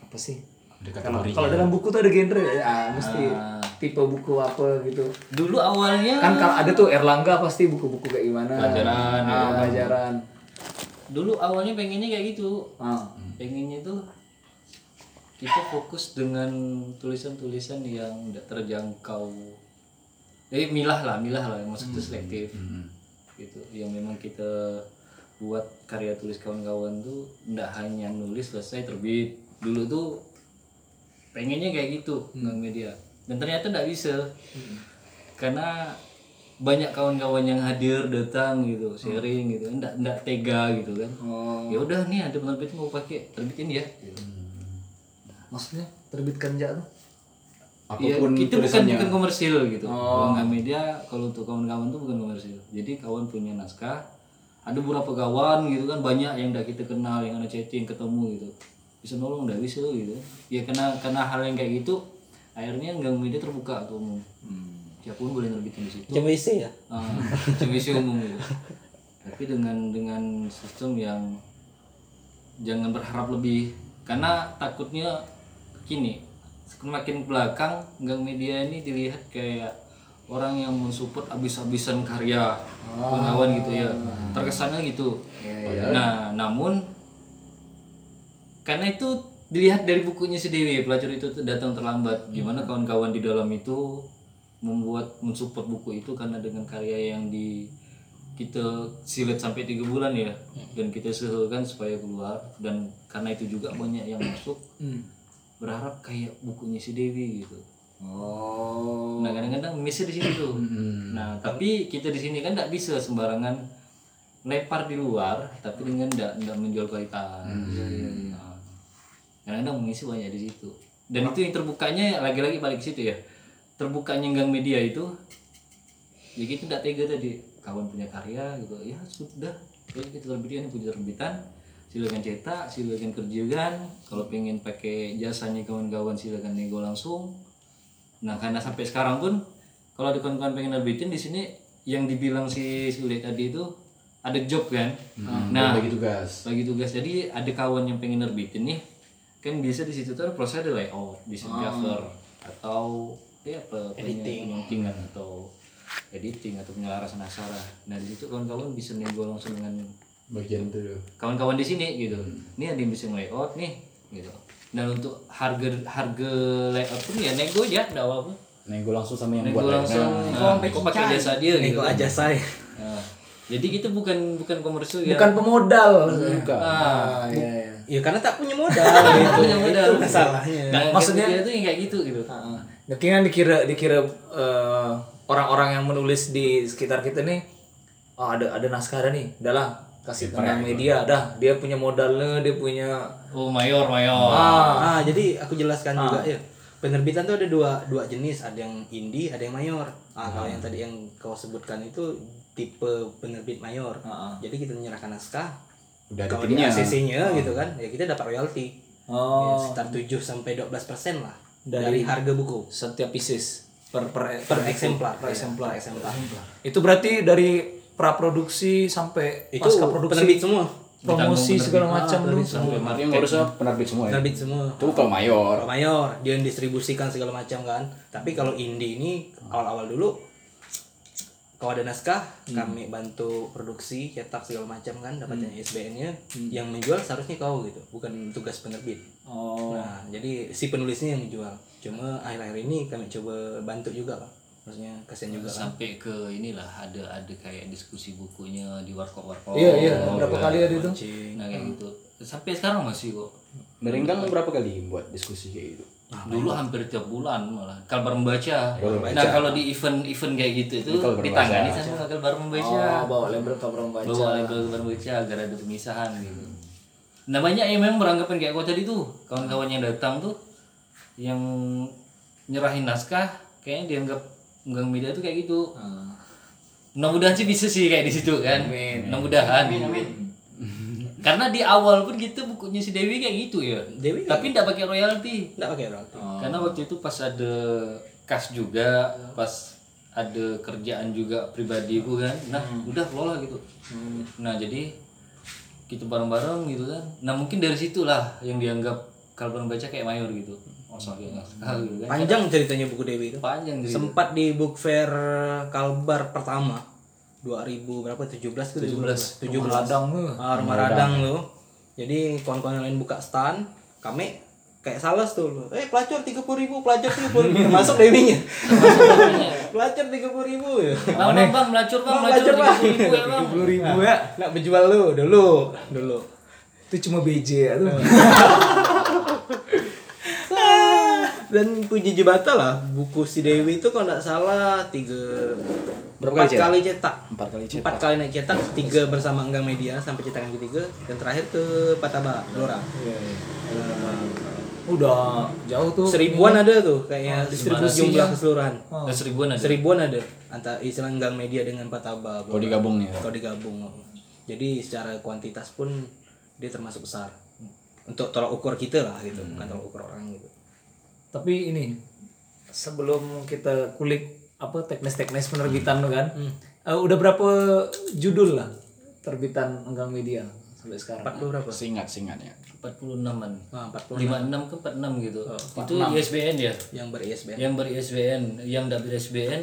[SPEAKER 3] apa sih? Kalau kalau dalam buku tuh ada genre ya, Ah, mesti tipe buku apa gitu.
[SPEAKER 6] Dulu awalnya,
[SPEAKER 3] Kan kalau ada tuh Erlangga pasti buku-buku kayak gimana? Pelajaran, ah, pelajaran.
[SPEAKER 6] dulu awalnya pengennya kayak gitu,
[SPEAKER 3] Ah,
[SPEAKER 6] pengennya tuh kita fokus dengan tulisan-tulisan yang tidak terjangkau jadi milah lah milah lah maksudnya selektif gitu yang memang kita buat karya tulis kawan-kawan tuh tidak hanya nulis selesai terbit dulu tuh pengennya kayak gitu nggak media dan ternyata tidak bisa karena banyak kawan-kawan yang hadir datang gitu sharing gitu ndak ndak tega gitu kan ya udah nih ada penerbit mau pakai terbitin ya gitu.
[SPEAKER 3] maksudnya terbitkan jak tuh.
[SPEAKER 6] Iya, itu bukan bukan komersil gitu. Kalau nggak media, kalau untuk kawan-kawan tuh bukan komersil. Jadi kawan punya naskah, ada beberapa kawan gitu kan banyak yang udah kita kenal, yang ada chatting, ketemu gitu. Bisa nolong, udah bisa gitu. Ya karena karena hal yang kayak gitu, akhirnya nggak media terbuka ke umum. Siapapun boleh nerbitin di situ.
[SPEAKER 2] Cuma isi ya.
[SPEAKER 6] Ah, CBC umum gitu. Tapi dengan dengan sistem yang jangan berharap lebih karena takutnya gini semakin ke belakang gang media ini dilihat kayak orang yang mensupport abis-abisan karya pengawan gitu ya terkesannya gitu nah namun karena itu dilihat dari bukunya sendiri pelacur itu tuh datang terlambat gimana kawan-kawan di dalam itu membuat mensupport buku itu karena dengan karya yang di kita silet sampai tiga bulan ya dan kita sehelkan supaya keluar dan karena itu juga banyak yang masuk berharap kayak bukunya si Dewi gitu oh nah kadang-kadang missnya di situ tuh nah tapi kita di sini kan tidak bisa sembarangan lempar di luar tapi dengan tidak menjual kualitas Nah, kadang-kadang mengisi banyak di situ dan itu yang terbukanya lagi-lagi balik ke situ ya terbukanya gang media itu ya gitu tidak tega tadi kawan punya karya gitu ya sudah ya, kita terbitan punya terbitan silakan cetak silakan kerjakan kalau pengen pakai jasanya kawan-kawan silakan nego langsung nah karena sampai sekarang pun kalau ada kawan-kawan pengen terbitin di sini yang dibilang si Sule tadi itu ada job kan nah
[SPEAKER 1] Hmm, bagi tugas
[SPEAKER 6] bagi tugas jadi ada kawan yang pengen nerbitin nih kan bisa di situ tuh proses ada layout
[SPEAKER 1] Oh.
[SPEAKER 6] desain cover atau ya apa editing penyelentingan atau editing atau penyelarasan acara nah di situ kawan-kawan bisa nego langsung dengan
[SPEAKER 1] bagian itu
[SPEAKER 6] kawan-kawan di sini gitu
[SPEAKER 1] Hmm.
[SPEAKER 6] ini ada yang bisa layout nih gitu dan untuk harga harga layout pun ya nego aja nggak apa-apa
[SPEAKER 1] nego langsung sama yang
[SPEAKER 6] nego
[SPEAKER 1] buat
[SPEAKER 6] langsung nah, kok pakai jasa dia gitu
[SPEAKER 3] lah
[SPEAKER 2] Nego aja saya.
[SPEAKER 6] Nah, jadi kita bukan bukan komersil ya
[SPEAKER 3] bukan Kan pemodal
[SPEAKER 1] buka
[SPEAKER 6] Ah,
[SPEAKER 2] Ya karena tak punya modal gitu.
[SPEAKER 6] punya modal.
[SPEAKER 2] Itu masalahnya.
[SPEAKER 6] Nah,
[SPEAKER 3] maksudnya-
[SPEAKER 6] maksudnya itu yang kayak gitu gitu.
[SPEAKER 3] Mungkin kan dikira dikira eh, orang-orang yang menulis di sekitar kita nih, oh ada ada naskah ada nih, udah lah kasih ke media, dah dia punya modalnya, dia punya
[SPEAKER 6] Oh mayor mayor.
[SPEAKER 2] Ah, jadi aku jelaskan juga ya. Penerbitan tuh ada dua dua jenis, ada yang indie, ada yang mayor. Ah, kalau yang tadi yang kau sebutkan itu tipe penerbit mayor. Jadi kita menyerahkan naskah,
[SPEAKER 1] udah ada
[SPEAKER 2] kalau di
[SPEAKER 1] timnya
[SPEAKER 2] ACC-nya gitu kan, ya kita dapat royalti. Ya, sekitar 7 sampai 12% lah dari, harga buku
[SPEAKER 3] setiap pieces per per,
[SPEAKER 2] per eksemplar,
[SPEAKER 3] per
[SPEAKER 2] ya,
[SPEAKER 3] eksemplar.
[SPEAKER 2] per eksemplar.
[SPEAKER 3] Itu berarti dari praproduksi sampai
[SPEAKER 2] Itu
[SPEAKER 3] pasca produksi,
[SPEAKER 2] penerbit semua.
[SPEAKER 3] promosi segala
[SPEAKER 2] Ah,
[SPEAKER 3] macam lu.
[SPEAKER 1] yang ngurusnya penerbit semua ya
[SPEAKER 2] Penerbit semua.
[SPEAKER 1] itu kalau mayor
[SPEAKER 2] Kalau mayor dia yang distribusikan segala macam kan. Tapi kalau indie ini awal-awal dulu kalau ada naskah
[SPEAKER 1] Hmm.
[SPEAKER 2] kami bantu produksi cetak segala macam kan dapatnya
[SPEAKER 1] Hmm.
[SPEAKER 2] ISBN-nya yang menjual seharusnya kau gitu bukan tugas penerbit.
[SPEAKER 3] Oh.
[SPEAKER 2] Nah jadi si penulisnya yang menjual. Cuma akhir-akhir ini kami coba bantu juga kan. Maksudnya kasihan juga kan.
[SPEAKER 6] sampai ke inilah ada ada kayak diskusi bukunya di warkop warkop.
[SPEAKER 3] Iya, iya, berapa kali ada itu?
[SPEAKER 6] Nah kayak gitu. Sampai sekarang masih kok.
[SPEAKER 1] merenggang berapa kali buat diskusi kayak gitu
[SPEAKER 6] Dulu hampir tiap bulan malah kalbar membaca.
[SPEAKER 1] Kalbar
[SPEAKER 6] Nah kalau di event-event kayak gitu itu
[SPEAKER 1] Kalbar membaca.
[SPEAKER 6] ditangani sama kalbar membaca.
[SPEAKER 3] bawa label ke perempuan.
[SPEAKER 6] Bawa label kalbar membaca agar ada pemisahan gitu. Nah banyak yang memang beranggapan kayak kau tadi tuh kawan-kawan yang datang tuh yang nyerahin naskah kayaknya dianggap gang media tuh kayak gitu. Mudah-mudahan sih bisa sih kayak di situ kan. Mudah-mudahan. Karena di awal pun gitu bukunya si Dewi kayak gitu ya.
[SPEAKER 2] Dewi
[SPEAKER 6] Tapi tidak pakai royalti.
[SPEAKER 2] enggak pakai royalti.
[SPEAKER 6] Karena waktu itu pas ada kas juga, pas ada kerjaan juga pribadi gue kan. Nah, udah kelola gitu. Nah, jadi kita bareng-bareng gitu kan. Nah, mungkin dari situlah yang dianggap kalau orang baca kayak mayor gitu. Oh, sorry, nggak sekali gitu kan.
[SPEAKER 2] Panjang ceritanya buku Dewi itu.
[SPEAKER 6] Panjang gitu.
[SPEAKER 2] Sempat di book fair Kalbar pertama 2000 berapa 17 ke 17 17 Radang ah, rumah Radang lu jadi kawan-kawan yang lain buka stand kami kayak salas tuh lu eh pelacur 30 ribu pelacur 30 [LAUGHS] ribu masuk dewinya pelacur 30 ribu ya
[SPEAKER 6] Bang, bang, bang, melacur bang,
[SPEAKER 2] Bang,
[SPEAKER 6] melacur
[SPEAKER 2] melacur,
[SPEAKER 6] 30 ribu ya bang.
[SPEAKER 2] ribu ya nak berjual lu dulu dulu Iya.
[SPEAKER 3] Itu cuma BJ ya tuh.
[SPEAKER 2] dan puji jebata lah buku si Dewi itu kalau nggak salah tiga
[SPEAKER 1] Berapa kali
[SPEAKER 2] empat
[SPEAKER 1] cetak?
[SPEAKER 2] kali cetak
[SPEAKER 1] Empat kali cetak.
[SPEAKER 2] empat kali naik cetak tiga bersama Enggang Media sampai cetakan ketiga dan terakhir ke Pataba Blora
[SPEAKER 3] Udah jauh tuh.
[SPEAKER 2] seribuan ada tuh kayaknya distribusi
[SPEAKER 6] distribusinya.
[SPEAKER 2] jumlah keseluruhan
[SPEAKER 6] Nah, seribuan ada.
[SPEAKER 2] seribuan ada antara istilah Enggang Media dengan Pataba
[SPEAKER 1] kalau
[SPEAKER 2] Blora
[SPEAKER 1] digabung ya
[SPEAKER 2] kalau digabung jadi secara kuantitas pun dia termasuk besar untuk tolak ukur kita lah gitu
[SPEAKER 1] Hmm.
[SPEAKER 2] bukan tolak ukur orang gitu
[SPEAKER 3] Tapi ini sebelum kita kulik apa teknis-teknis penerbitan lo kan.
[SPEAKER 2] Hmm.
[SPEAKER 3] Eh, udah berapa judul lah terbitan Enggang Media sampai sekarang?
[SPEAKER 2] empat puluh berapa
[SPEAKER 1] singkat singkatnya
[SPEAKER 6] 46-an.
[SPEAKER 2] ah, empat puluh
[SPEAKER 6] 56 ke 46 gitu. Itu ISBN ya?
[SPEAKER 2] yang ber ISBN
[SPEAKER 6] yang ber ISBN yang tidak ber ISBN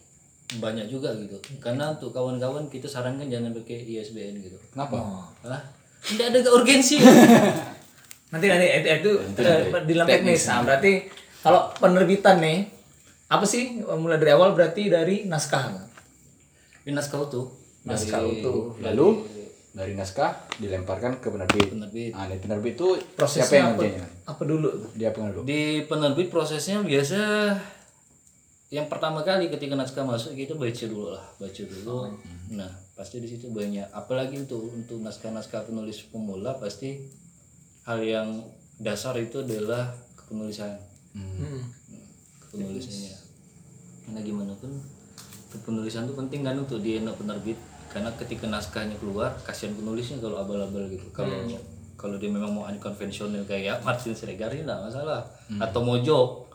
[SPEAKER 6] [CLEARS THROAT] banyak juga gitu karena untuk kawan-kawan kita sarankan jangan pakai ISBN gitu
[SPEAKER 1] kenapa
[SPEAKER 6] Hah? tidak ada urgensi
[SPEAKER 3] Nanti nanti itu, itu eh, di dalam teknis. Nah, berarti kalau penerbitan nih Apa sih mulai dari awal berarti dari naskah nggak?
[SPEAKER 6] Ini naskah utuh
[SPEAKER 3] Naskah utuh.
[SPEAKER 1] Lalu dari naskah dilemparkan ke penerbit.
[SPEAKER 6] Penerbit.
[SPEAKER 1] Nah, dari penerbit itu siapa yang
[SPEAKER 3] Prosesnya apa,
[SPEAKER 1] ngerjainnya?
[SPEAKER 3] apa dulu?
[SPEAKER 1] Dia penerbit.
[SPEAKER 6] Di penerbit prosesnya biasa yang pertama kali ketika naskah masuk kita baca dulu lah, baca dulu. Nah, pasti di situ banyak. Apalagi untuk untuk naskah-naskah penulis pemula pasti hal yang dasar itu adalah kepenulisan. Hmm. Kepenulisannya. Karena gimana pun kepenulisan itu penting kan untuk di anak penerbit karena ketika naskahnya keluar kasihan penulisnya kalau abal-abal gitu kalau kalau dia memang mau unconventional kayak Martin Siregar ini nggak masalah atau Mojok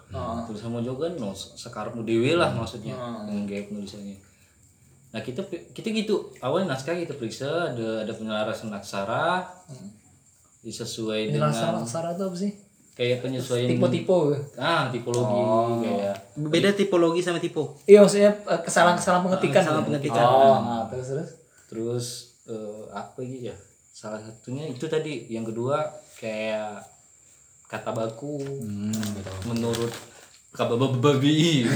[SPEAKER 6] tulisan Mojok kan no, sekarang dewe lah maksudnya dengan gaya penulisannya nah kita kita gitu awalnya naskah kita periksa ada ada penyelarasan aksara disesuai dengan
[SPEAKER 3] Naskah naskah itu apa sih?
[SPEAKER 6] kayak penyesuaian
[SPEAKER 3] Tipe-tipe. gitu.
[SPEAKER 6] ah tipologi kayak
[SPEAKER 2] Beda tipologi sama tipe.
[SPEAKER 3] Iya maksudnya eh, kesalahan-kesalahan pengetikan. Kesalahan
[SPEAKER 2] pengetikan.
[SPEAKER 3] Oh, nah, terus terus.
[SPEAKER 6] terus eh, apa gitu ya salah satunya itu tadi yang kedua kayak kata baku menurut kata babi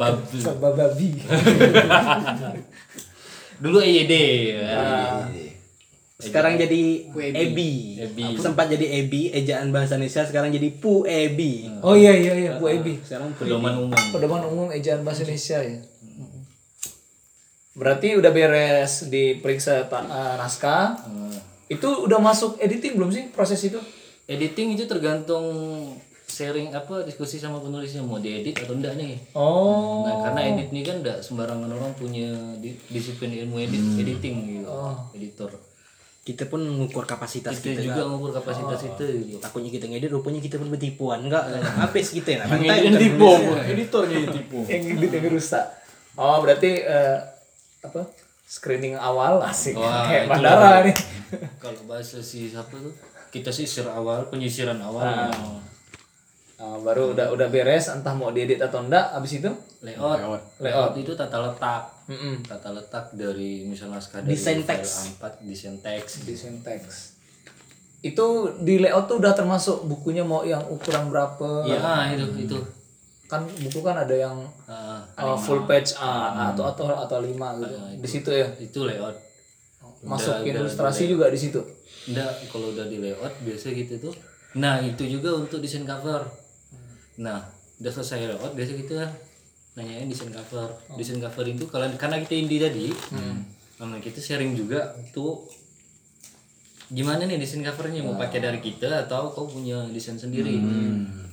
[SPEAKER 6] bab
[SPEAKER 3] Bababi.
[SPEAKER 6] dulu E EYD ya,
[SPEAKER 2] Sekarang jadi Ebi. Sempat jadi Ebi, ejaan bahasa Indonesia sekarang jadi Pu Ebi.
[SPEAKER 3] Oh iya iya iya Bu Ebi.
[SPEAKER 2] Sekarang
[SPEAKER 6] pedoman umum
[SPEAKER 3] Pedoman umum ejaan bahasa Indonesia ya. Berarti udah beres diperiksa ta- eh, naskah. Itu udah masuk editing belum sih proses itu?
[SPEAKER 6] editing itu tergantung sharing apa diskusi sama penulisnya mau diedit atau enggak nih
[SPEAKER 3] Oh.
[SPEAKER 6] Nah, karena edit ini kan enggak sembarangan orang punya di- disiplin ilmu edit editing gitu editor
[SPEAKER 2] kita pun ngukur kapasitas
[SPEAKER 6] kita juga ngukur kapasitas itu gitu.
[SPEAKER 2] takutnya kita ngedit rupanya kita pun bertipuan enggak apa sih kita
[SPEAKER 1] Yang
[SPEAKER 2] ya pantai
[SPEAKER 1] tipu, editornya yang tipu.
[SPEAKER 3] Yang edit yang rusak. Oh, berarti eh, apa? Screening awal asik.
[SPEAKER 6] Wah,
[SPEAKER 3] [LAUGHS] Kayak
[SPEAKER 6] itu
[SPEAKER 3] bandara nih.
[SPEAKER 6] kalau bahasa si siapa tuh kita sisir awal penyisiran awal yang
[SPEAKER 3] Oh, baru udah udah beres entah mau diedit atau enggak abis itu
[SPEAKER 6] layout.
[SPEAKER 1] Layout.
[SPEAKER 6] layout itu tata letak tata letak dari misalnya naskah dari
[SPEAKER 2] Desain
[SPEAKER 6] file
[SPEAKER 2] teks.
[SPEAKER 6] A4 desain teks
[SPEAKER 3] desain teks itu di layout tuh udah termasuk bukunya mau yang ukuran berapa
[SPEAKER 6] ya ah, itu itu
[SPEAKER 3] kan buku kan ada yang
[SPEAKER 6] Ah,
[SPEAKER 3] uh, full page A atau atau atau lima gitu. Di situ ya.
[SPEAKER 6] itu layout
[SPEAKER 3] Masuk ilustrasi juga di situ.
[SPEAKER 6] Nggak, kalau udah di layout biasa gitu tuh. Nah, itu juga untuk desain cover. Nah, udah selesai layout biasa kita nanyain desain cover. Desain cover itu kalau karena kita indie tadi, karena kita sharing juga tuh gimana nih desain covernya mau pakai dari kita atau kau punya desain sendiri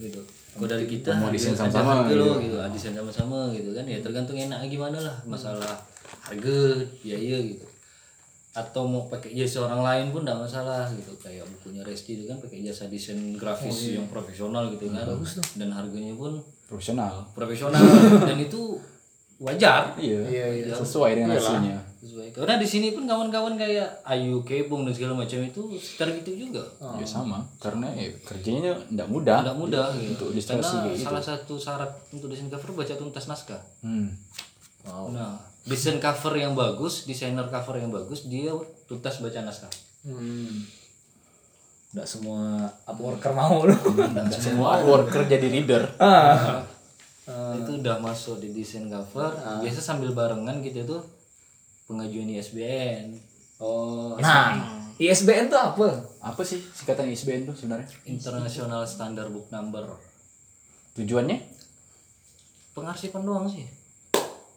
[SPEAKER 6] gitu. Kalau dari kita mau desain sama-sama gitu, gitu. Ah, desain sama-sama gitu kan ya tergantung enaknya gimana lah masalah harga biaya gitu atau mau pakai jasa orang lain pun tidak masalah gitu kayak bukunya Resti itu kan pakai jasa desain grafis yang profesional gitu kan dan harganya pun
[SPEAKER 1] Profesional.
[SPEAKER 6] profesional [LAUGHS] dan itu wajar
[SPEAKER 1] Iya. Sesuai dengan hasilnya.
[SPEAKER 6] sesuai karena di sini pun kawan-kawan kayak Ayu Kebong dan segala macam itu sekitar gitu juga
[SPEAKER 3] Oh.
[SPEAKER 1] Ya sama, karena ya, kerjanya enggak mudah.
[SPEAKER 6] tidak mudah gitu
[SPEAKER 1] Untuk ilustrasi
[SPEAKER 6] karena
[SPEAKER 1] kayak gitu.
[SPEAKER 6] salah satu syarat untuk desain cover baca tuntas naskah
[SPEAKER 1] Hmm.
[SPEAKER 6] nah desain cover yang bagus desainer cover yang bagus dia tuntas baca naskah Hmm.
[SPEAKER 3] Enggak semua Upworker mau
[SPEAKER 6] [LAUGHS]
[SPEAKER 3] lu.
[SPEAKER 1] Semua worker jadi leader. Ah.
[SPEAKER 6] itu udah masuk di desain cover biasa sambil barengan gitu tuh pengajuan ISBN
[SPEAKER 3] Oh, nah, ISBN tuh apa?
[SPEAKER 1] Apa sih singkatan ISBN tuh sebenarnya?
[SPEAKER 6] International Standard Book Number
[SPEAKER 1] Tujuannya?
[SPEAKER 6] pengarsipan doang sih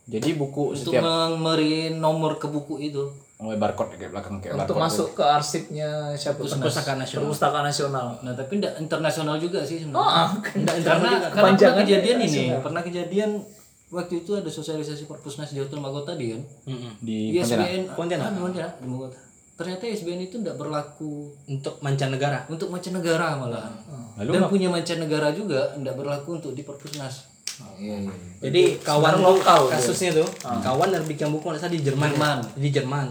[SPEAKER 1] Jadi buku
[SPEAKER 6] untuk
[SPEAKER 1] setiap
[SPEAKER 6] memberi nomor ke buku itu
[SPEAKER 1] oh, barcode kayak belakang kayak
[SPEAKER 3] Untuk
[SPEAKER 1] barcode.
[SPEAKER 3] masuk ke arsipnya siapa? Perpustakaan nasional. Perpustakaan nasional.
[SPEAKER 6] nah tapi enggak internasional juga sih sebenarnya
[SPEAKER 3] Oh,
[SPEAKER 6] Nggak karena karena pernah
[SPEAKER 3] Kepanjangan
[SPEAKER 6] kejadian ini pernah kejadian waktu itu ada sosialisasi perpusnas di Hotel Magota di kan
[SPEAKER 1] Di
[SPEAKER 6] ISBN Pontianak Ah, di Pontianak di Magota ternyata E ISBN itu tidak berlaku
[SPEAKER 2] untuk mancanegara
[SPEAKER 6] untuk mancanegara malah
[SPEAKER 1] Lalu
[SPEAKER 6] dan punya mancanegara juga tidak berlaku untuk di perpusnas
[SPEAKER 2] jadi kawan lokal kasusnya tuh kawan nerbitin buku nggak salah di Jerman, ya.
[SPEAKER 6] Ah. Jerman. Ah.
[SPEAKER 2] di Jerman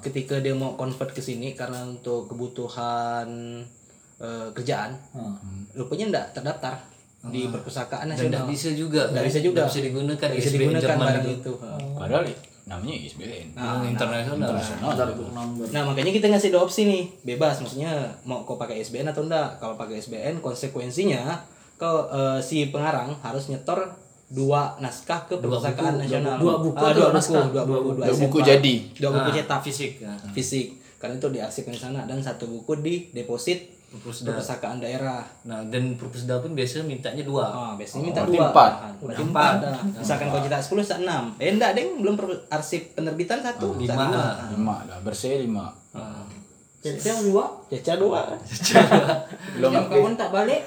[SPEAKER 2] ketika dia mau convert ke sini karena untuk kebutuhan eh, kerjaan rupanya enggak terdaftar di perpustakaan
[SPEAKER 6] Ah. dan tidak
[SPEAKER 2] nasional
[SPEAKER 6] bisa juga
[SPEAKER 2] Nggak bisa juga.
[SPEAKER 6] Nggak bisa digunakan
[SPEAKER 2] Nggak bisa
[SPEAKER 6] ISBN
[SPEAKER 2] digunakan
[SPEAKER 6] Jerman
[SPEAKER 2] barang
[SPEAKER 6] itu Ah.
[SPEAKER 2] itu
[SPEAKER 3] Oh.
[SPEAKER 1] padahal namanya ISBN.
[SPEAKER 6] Yang internasional
[SPEAKER 2] Nah makanya kita ngasih dua opsi nih bebas maksudnya mau kau pakai SBN atau enggak kalau pakai SBN konsekuensinya kau eh, si pengarang harus nyetor dua naskah ke perpustakaan nasional
[SPEAKER 3] dua buku
[SPEAKER 2] Ah,
[SPEAKER 3] atau
[SPEAKER 2] dua buku
[SPEAKER 3] naskah? Ah.
[SPEAKER 2] dua buku dua
[SPEAKER 5] Dua buku
[SPEAKER 2] SMA.
[SPEAKER 5] jadi.
[SPEAKER 2] dua buku cetak
[SPEAKER 6] fisik ya.
[SPEAKER 2] fisik karena itu diarsipkan di sana dan satu buku di deposit
[SPEAKER 6] Perpusda.
[SPEAKER 2] perpustakaan daerah
[SPEAKER 6] Nah, dan perpusda pun biasanya mintanya dua.
[SPEAKER 2] Ah, biasanya minta
[SPEAKER 5] berarti
[SPEAKER 2] dua.
[SPEAKER 5] empat.
[SPEAKER 2] Berarti empat. Misalkan kau cetak 10 cetak 6. Eh enggak, Deng, belum per- arsip penerbitan satu, cetak
[SPEAKER 6] lima.
[SPEAKER 2] dua.
[SPEAKER 1] lima dah bersih lima
[SPEAKER 3] Jadi yang dua
[SPEAKER 2] Cetak dua.
[SPEAKER 5] Belum kawan tak balik.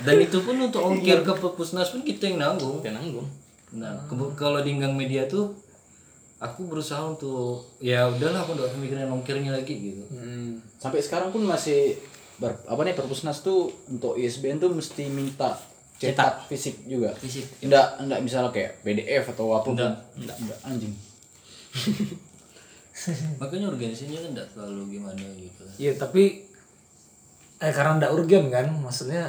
[SPEAKER 6] Dan itu pun untuk ongkir ke perpusnas pun kita yang nanggung.
[SPEAKER 2] Dia nanggung.
[SPEAKER 6] Nah, ke- kalau di Gang Media tuh aku berusaha untuk ya udahlah aku nggak mikirin ongkirnya lagi gitu.
[SPEAKER 2] Hmm.
[SPEAKER 1] sampai sekarang pun masih ber- apa nih perpusnas tuh untuk ISBN tuh mesti minta cetak fisik juga
[SPEAKER 6] Fisik.
[SPEAKER 1] enggak enggak misalnya kayak PDF atau apa
[SPEAKER 6] Nggak.
[SPEAKER 1] enggak enggak anjing
[SPEAKER 6] Makanya organisasinya kan nggak terlalu gimana gitu.
[SPEAKER 3] Iya tapi eh karena ndak urgen kan maksudnya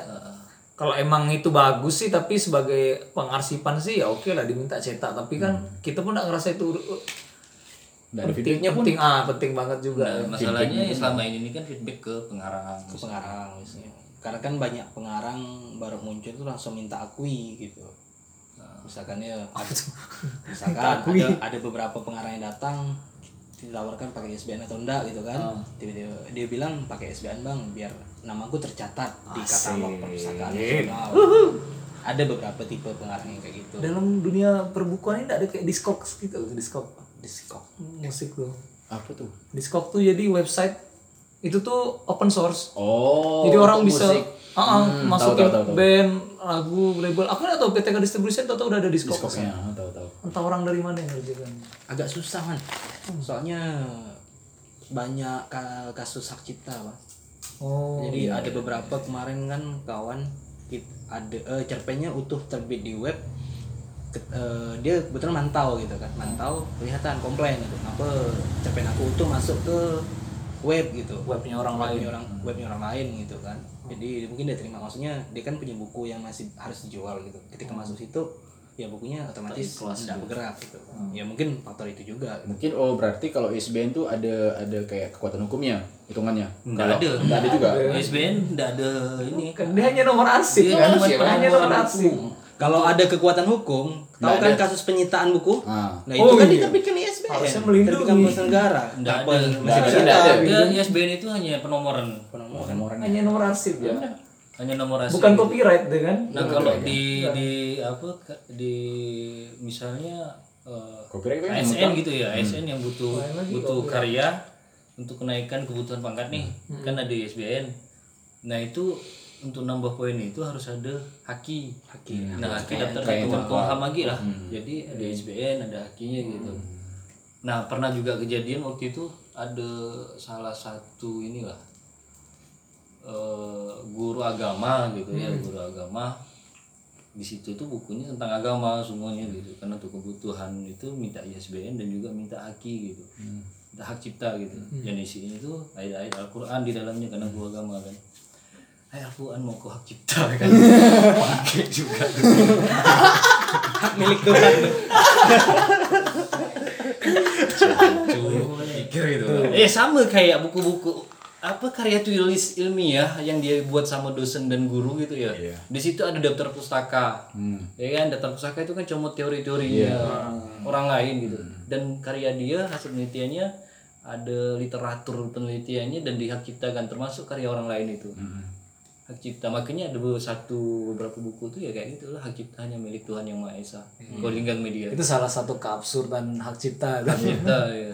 [SPEAKER 3] kalau emang itu bagus sih tapi sebagai pengarsipan sih ya oke lah diminta cetak tapi kan kita pun nggak ngerasa itu ur-
[SPEAKER 1] dari
[SPEAKER 3] penting,
[SPEAKER 1] videonya pun
[SPEAKER 3] penting ah penting banget juga
[SPEAKER 6] Nah, masalahnya ya selama ini ini kan feedback ke pengarang.
[SPEAKER 2] Ke pengarang biasanya. Ah, Karena kan banyak pengarang baru muncul tuh langsung minta akui gitu. Misalkan ya ada, misalkan ada, ada beberapa pengarang yang datang ditawarkan pakai ISBN atau enggak gitu kan. Tiba-tiba dia bilang pakai ISBN Bang biar namaku tercatat di katalog perpustakaan nasional. Ada beberapa tipe pengarang yang kayak gitu.
[SPEAKER 3] dalam dunia perbukuan ini nggak ada kayak diskok gitu diskok
[SPEAKER 2] Diskok.
[SPEAKER 3] musik tuh
[SPEAKER 1] apa tuh
[SPEAKER 3] diskok tuh jadi website itu tuh open source
[SPEAKER 1] oh
[SPEAKER 3] jadi orang
[SPEAKER 1] untuk
[SPEAKER 3] bisa
[SPEAKER 1] musik.
[SPEAKER 3] Ah, ah,
[SPEAKER 1] Hmm, tahu, tahu,
[SPEAKER 3] masukin
[SPEAKER 1] tahu, tahu.
[SPEAKER 3] band lagu label aku nggak tahu PTK distribution atau udah ada diskok
[SPEAKER 1] Diskoknya, ah, tahu tahu
[SPEAKER 3] entah orang dari mana yang ngerjakan
[SPEAKER 2] agak susah kan soalnya banyak ka- kasus hak cipta Bang.
[SPEAKER 3] oh
[SPEAKER 2] jadi ada beberapa kemarin kan kawan kit- ada eh, cerpennya utuh terbit di web Ke- eh, dia kebetulan mantau gitu kan mantau kelihatan komplain gitu kenapa cerpen aku utuh masuk ke web gitu
[SPEAKER 3] webnya orang lain Hmm.
[SPEAKER 2] webnya orang webnya orang lain gitu kan jadi mungkin dia terima maksudnya dia kan punya buku yang masih harus dijual gitu ketika
[SPEAKER 3] Hmm.
[SPEAKER 2] masuk situ ya bukunya otomatis tidak bergerak gitu
[SPEAKER 3] Hmm.
[SPEAKER 2] ya mungkin faktor itu juga gitu.
[SPEAKER 1] mungkin oh berarti kalau ISBN tuh ada ada kayak kekuatan hukumnya hitungannya
[SPEAKER 6] Nggak
[SPEAKER 1] Kalau-
[SPEAKER 6] ada.
[SPEAKER 1] nggak ada juga
[SPEAKER 6] ISBN nggak ada ini.
[SPEAKER 3] Bukan, dia hanya nomor asing
[SPEAKER 6] Iya,
[SPEAKER 3] kan?
[SPEAKER 6] iya,
[SPEAKER 3] hanya nomor asing
[SPEAKER 2] Kalau ada kekuatan hukum, tahu kan kasus penyitaan buku?
[SPEAKER 1] Ah.
[SPEAKER 2] Nah, itu
[SPEAKER 3] Oh,
[SPEAKER 2] kan
[SPEAKER 3] iya.
[SPEAKER 2] diterbitkan ISBN.
[SPEAKER 3] Harusnya melindungi.
[SPEAKER 2] Terbitkan bahasa negara.
[SPEAKER 6] Nggak
[SPEAKER 2] Apa?
[SPEAKER 6] ada.
[SPEAKER 2] Masih
[SPEAKER 1] ada,
[SPEAKER 2] bisa
[SPEAKER 1] nggak ada.
[SPEAKER 2] tahu.
[SPEAKER 6] Ya, ISBN itu hanya penomoran,
[SPEAKER 1] orang-orangnya
[SPEAKER 3] hanya nomor asing ya
[SPEAKER 1] Iya.
[SPEAKER 6] hanya nomor asli.
[SPEAKER 3] bukan copyright deh kan
[SPEAKER 6] Nah kalau di di apa ke- di misalnya eh,
[SPEAKER 1] Copyright kan
[SPEAKER 6] ASN gitu ya ASN yang butuh butuh karya untuk kenaikan kebutuhan pangkat nih kan ada ISBN. Nah itu untuk nambah poin itu harus ada haki. Haki. Nah haki daftar ketentuan komham lagi lah. Jadi ada ISBN ada hakinya gitu. Nah pernah juga kejadian waktu itu ada salah satu inilah eh, guru agama gitu ya guru agama di situ tuh bukunya tentang agama semuanya gitu karena untuk kebutuhan itu minta ISBN dan juga minta haki gitu minta hak cipta gitu dan isinya itu ayat-ayat Al-Quran di dalamnya karena guru agama kan ayat Al-Quran mau ke hak cipta [LAUGHS] kan pakai juga
[SPEAKER 2] Hak milik Tuhan.
[SPEAKER 6] Cuma mikir gitu. Eh sama kayak buku-buku apa karya tulis ilmiah yang dia buat sama dosen dan guru gitu ya. Di situ ada daftar pustaka. Ya kan daftar pustaka itu kan cuma teori-teorinya orang lain gitu. Dan karya dia hasil penelitiannya ada literatur penelitiannya dan dihak ciptakan kan, termasuk karya orang lain itu. Hak cipta makanya ada be- satu beberapa buku tuh ya kayak gitu lah hak cipta hanya milik Tuhan yang Maha Esa. Kalau di Gang media.
[SPEAKER 3] itu salah satu keabsurdan hak cipta kan?
[SPEAKER 6] Cipta ya.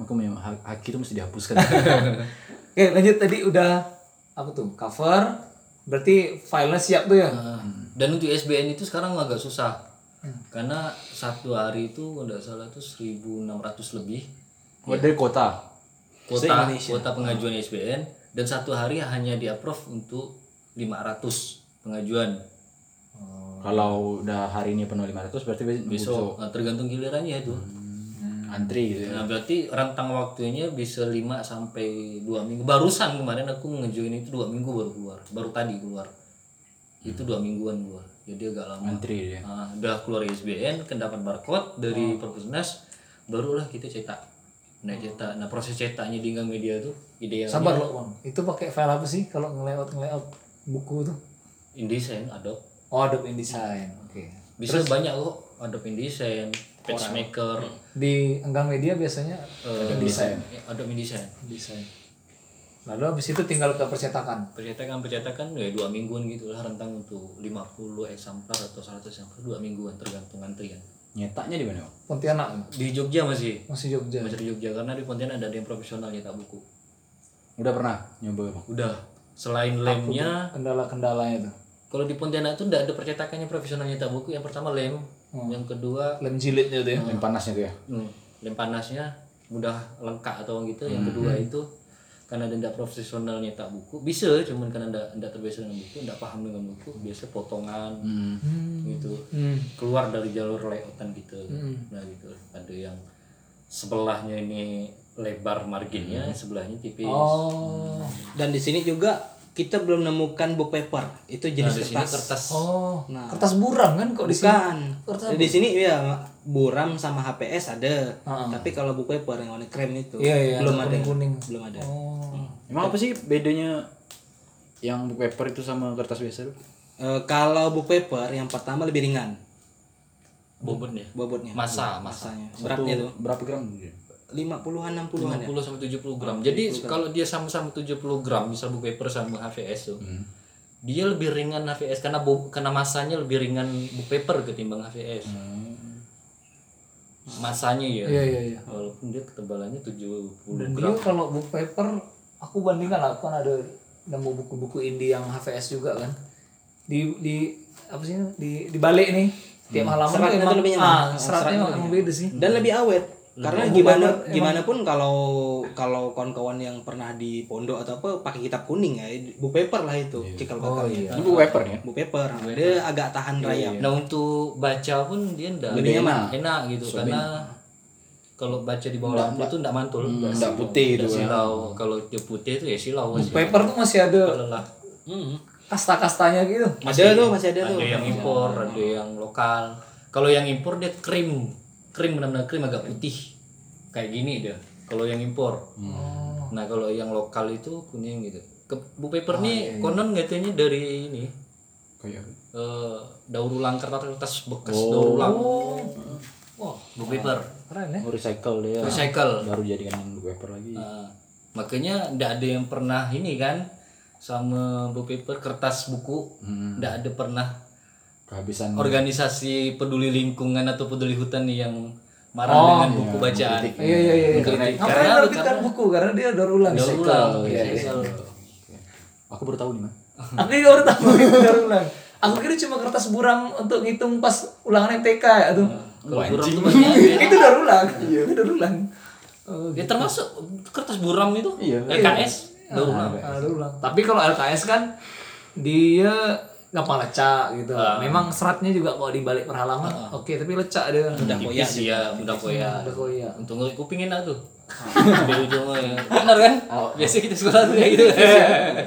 [SPEAKER 1] maka memang hak- haki itu mesti dihapuskan
[SPEAKER 3] oke lanjut tadi udah apa tuh cover berarti filenya siap tuh ya
[SPEAKER 6] Hmm. Dan untuk SBN itu sekarang agak susah. Karena satu hari itu kalau nggak salah tuh 1600 lebih
[SPEAKER 1] Oh, [LAUGHS] dari kota
[SPEAKER 6] kuota kuota pengajuan SBN dan satu hari hanya di approve untuk 500 pengajuan.
[SPEAKER 1] kalau udah hari ini penuh 500 berarti besok,
[SPEAKER 6] Besok nah, tergantung gilirannya itu.
[SPEAKER 1] antri gitu ya
[SPEAKER 6] Nah, berarti rentang waktunya bisa 5 sampai 2 minggu. Barusan kemarin aku ngejoin itu 2 minggu baru keluar. Baru tadi keluar. Itu dua mingguan keluar. Jadi agak lama.
[SPEAKER 1] antri dia
[SPEAKER 6] Nah, udah keluar ISBN, kendapat barcode dari Perpusnas, barulah kita cetak. Nah, cetak. Nah, proses cetaknya di Gang Media tuh idealnya
[SPEAKER 3] sabar loh bang itu pakai file apa sih kalau ngelayout ngelayout buku tuh
[SPEAKER 6] InDesign, Adobe.
[SPEAKER 3] oh Adobe InDesign oke
[SPEAKER 6] bisa banyak kok Adobe InDesign Patchmaker
[SPEAKER 3] di enggang media biasanya
[SPEAKER 6] eh,
[SPEAKER 3] desain
[SPEAKER 6] eh, Hmm. Adobe InDesign
[SPEAKER 3] desain lalu habis itu tinggal ke percetakan
[SPEAKER 6] percetakan percetakan ya dua mingguan gitulah rentang untuk 50 eksemplar atau 100 eksemplar dua mingguan tergantung antrian
[SPEAKER 1] nyetaknya di mana Bang?
[SPEAKER 3] Pontianak
[SPEAKER 6] di Jogja masih
[SPEAKER 3] masih Jogja
[SPEAKER 6] Iya, masih di Jogja karena di Pontianak ada yang profesional nyetak buku
[SPEAKER 1] udah pernah nyoba bang
[SPEAKER 6] udah selain lemnya
[SPEAKER 3] kendala-kendalanya tuh
[SPEAKER 6] kalau di Pontianak tuh nggak ada percetakannya profesional nyetak buku yang pertama lem yang kedua
[SPEAKER 3] lem jilidnya tuh ya
[SPEAKER 1] yang panasnya tuh ya
[SPEAKER 6] hmm, lem panasnya mudah lengkap atau gitu yang kedua itu karena dia nggak profesional nyetak buku bisa cuman karena nggak nggak terbiasa dengan buku nggak paham dengan buku biasa potongan gitu keluar dari jalur layoutan gitu nah gitu ada yang sebelahnya ini lebar marginnya sebelahnya tipis
[SPEAKER 3] oh
[SPEAKER 2] Dan di sini juga kita belum nemukan book paper. Itu
[SPEAKER 6] nah
[SPEAKER 2] jenis
[SPEAKER 6] di sini
[SPEAKER 2] kertas.
[SPEAKER 6] kertas
[SPEAKER 3] oh
[SPEAKER 2] Nah.
[SPEAKER 3] kertas buram kan kok di sini
[SPEAKER 2] Bukan. Di sini ya buram sama HPS ada.
[SPEAKER 6] Ah.
[SPEAKER 2] Tapi kalau book paper yang warna krem itu
[SPEAKER 3] iya iya
[SPEAKER 2] belum ada.
[SPEAKER 3] kuning
[SPEAKER 2] Belum ada.
[SPEAKER 3] oh
[SPEAKER 1] emang apa sih bedanya yang book paper itu sama kertas biasa tuh
[SPEAKER 2] Eh, kalau book paper yang pertama lebih ringan
[SPEAKER 6] bobot ya
[SPEAKER 2] bobotnya.
[SPEAKER 6] masa masa
[SPEAKER 2] Masanya. Beratnya tuh
[SPEAKER 1] berapa gram gitu?
[SPEAKER 2] 50-an 60-an ya.
[SPEAKER 6] 50 sampai 70 gram. Jadi kalau dia sama-sama 70 gram, misal book paper sama HVS tuh. Dia lebih ringan HVS karena bo- karena masanya lebih ringan book paper ketimbang HVS. Masanya ya.
[SPEAKER 3] iya iya iya
[SPEAKER 6] Walaupun dia ketebalannya 70
[SPEAKER 3] dan dia
[SPEAKER 6] gram.
[SPEAKER 3] Iya, kalau book paper aku bandingkan lah kan ada nemu buku-buku indie yang HVS juga kan di di apa sih di di balik nih tiap halaman tuh
[SPEAKER 2] Seratnya
[SPEAKER 3] emang
[SPEAKER 2] tuh lebih nyaman.
[SPEAKER 3] ah seratnya emang emang beda sih
[SPEAKER 2] dan lebih awet karena gimana gimana pun kalau kalau kawan-kawan yang pernah di pondok atau apa pakai kitab kuning ya book paper lah itu
[SPEAKER 3] Iya.
[SPEAKER 2] cikal bakalnya
[SPEAKER 1] ini book paper ya
[SPEAKER 2] book paper dia agak tahan rayap
[SPEAKER 6] Nah, untuk baca pun dia enggak
[SPEAKER 2] Lebih
[SPEAKER 6] enak, enak gitu karena kalau baca di bawah lampu tuh enggak mantul, enggak
[SPEAKER 1] enggak putih gitu ya.
[SPEAKER 6] silau. Kalau dia putih itu ya silau
[SPEAKER 3] book
[SPEAKER 6] masih.
[SPEAKER 3] paper tuh masih ada
[SPEAKER 6] Lelah.
[SPEAKER 3] kasta-kastanya gitu
[SPEAKER 2] ada tuh masih ada tuh gitu.
[SPEAKER 6] ada yang impor ada yang lokal kalau yang impor dia krim krim benar-benar krim agak putih kayak gini dia kalau yang impor
[SPEAKER 2] Hmm.
[SPEAKER 6] nah kalau yang lokal itu kuning gitu Ke,
[SPEAKER 2] Oh,
[SPEAKER 6] bu
[SPEAKER 2] iya,
[SPEAKER 6] paper nih konon katanya dari ini
[SPEAKER 1] kayak
[SPEAKER 6] eh, daur ulang kertas kertas bekas daur ulang oh bu paper
[SPEAKER 3] keren ya
[SPEAKER 1] oh, recycle dia
[SPEAKER 6] recycle
[SPEAKER 1] baru jadikan yang book paper lagi
[SPEAKER 6] Nah, makanya ndak ada yang pernah ini kan sama bu paper kertas buku ndak ada pernah
[SPEAKER 1] kehabisan
[SPEAKER 3] Hmm.
[SPEAKER 6] organisasi peduli lingkungan atau peduli hutan nih yang marah
[SPEAKER 3] Oh.
[SPEAKER 6] dengan buku bacaan.
[SPEAKER 3] iya iya iya iya.
[SPEAKER 6] Karena-
[SPEAKER 3] ngapain nerbitkan buku karena dia daur ulang
[SPEAKER 6] Daur ulang,
[SPEAKER 3] Iya,
[SPEAKER 6] recycle.
[SPEAKER 1] aku baru tahu nih man
[SPEAKER 3] aku juga baru tahu itu daur ulang aku kira cuma kertas buram untuk ngitung pas ulangan MTK ya tuh
[SPEAKER 6] Kalau buram tuh banyak.
[SPEAKER 3] [LAUGHS] itu daur ulang itu daur ulang Oh, Iya.
[SPEAKER 6] Ya termasuk kertas buram itu, Eh, LKS, daur ulang.
[SPEAKER 3] Ah, daur ulang. Tapi kalau LKS kan dia gampang lecak gitu. Memang seratnya juga kalau dibalik per halaman, oke, tapi lecak dia.
[SPEAKER 6] Udah koyak ya, udah koyak.
[SPEAKER 3] Udah koyak.
[SPEAKER 6] Untung ngulik kupingin lah tuh. Di ujungnya ya. Benar kan?
[SPEAKER 3] Oh.
[SPEAKER 6] Biasa kita sekolah tuh kayak gitu.
[SPEAKER 3] Iya,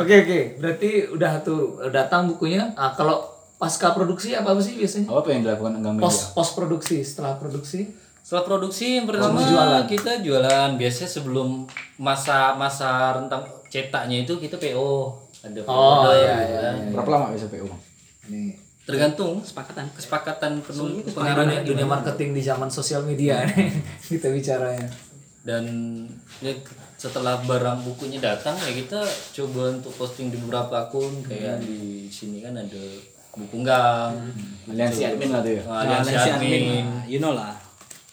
[SPEAKER 3] Oke oke, berarti udah tuh datang bukunya. Ah, kalau pasca produksi apa, apa sih biasanya?
[SPEAKER 1] apa, apa yang dilakukan Enggang Media
[SPEAKER 3] Pos pos produksi setelah produksi.
[SPEAKER 6] Setelah produksi
[SPEAKER 3] Oh,
[SPEAKER 6] yang pertama kita jualan biasanya sebelum masa masa rentang cetaknya itu kita PO ada oh, iya,
[SPEAKER 1] berapa lama bisa PO bang
[SPEAKER 6] tergantung kesepakatan Iya. kesepakatan penuh pengarangnya
[SPEAKER 3] Dunia marketing di zaman sosial media [LAUGHS] nih kita bicaranya.
[SPEAKER 6] dan ya, ke- setelah barang bukunya datang ya kita coba untuk posting di beberapa akun kayak di sini kan ada buku gang
[SPEAKER 1] aliansi admin lah tuh ya
[SPEAKER 6] nah, aliansi Hmm. admin
[SPEAKER 2] Nah, you know lah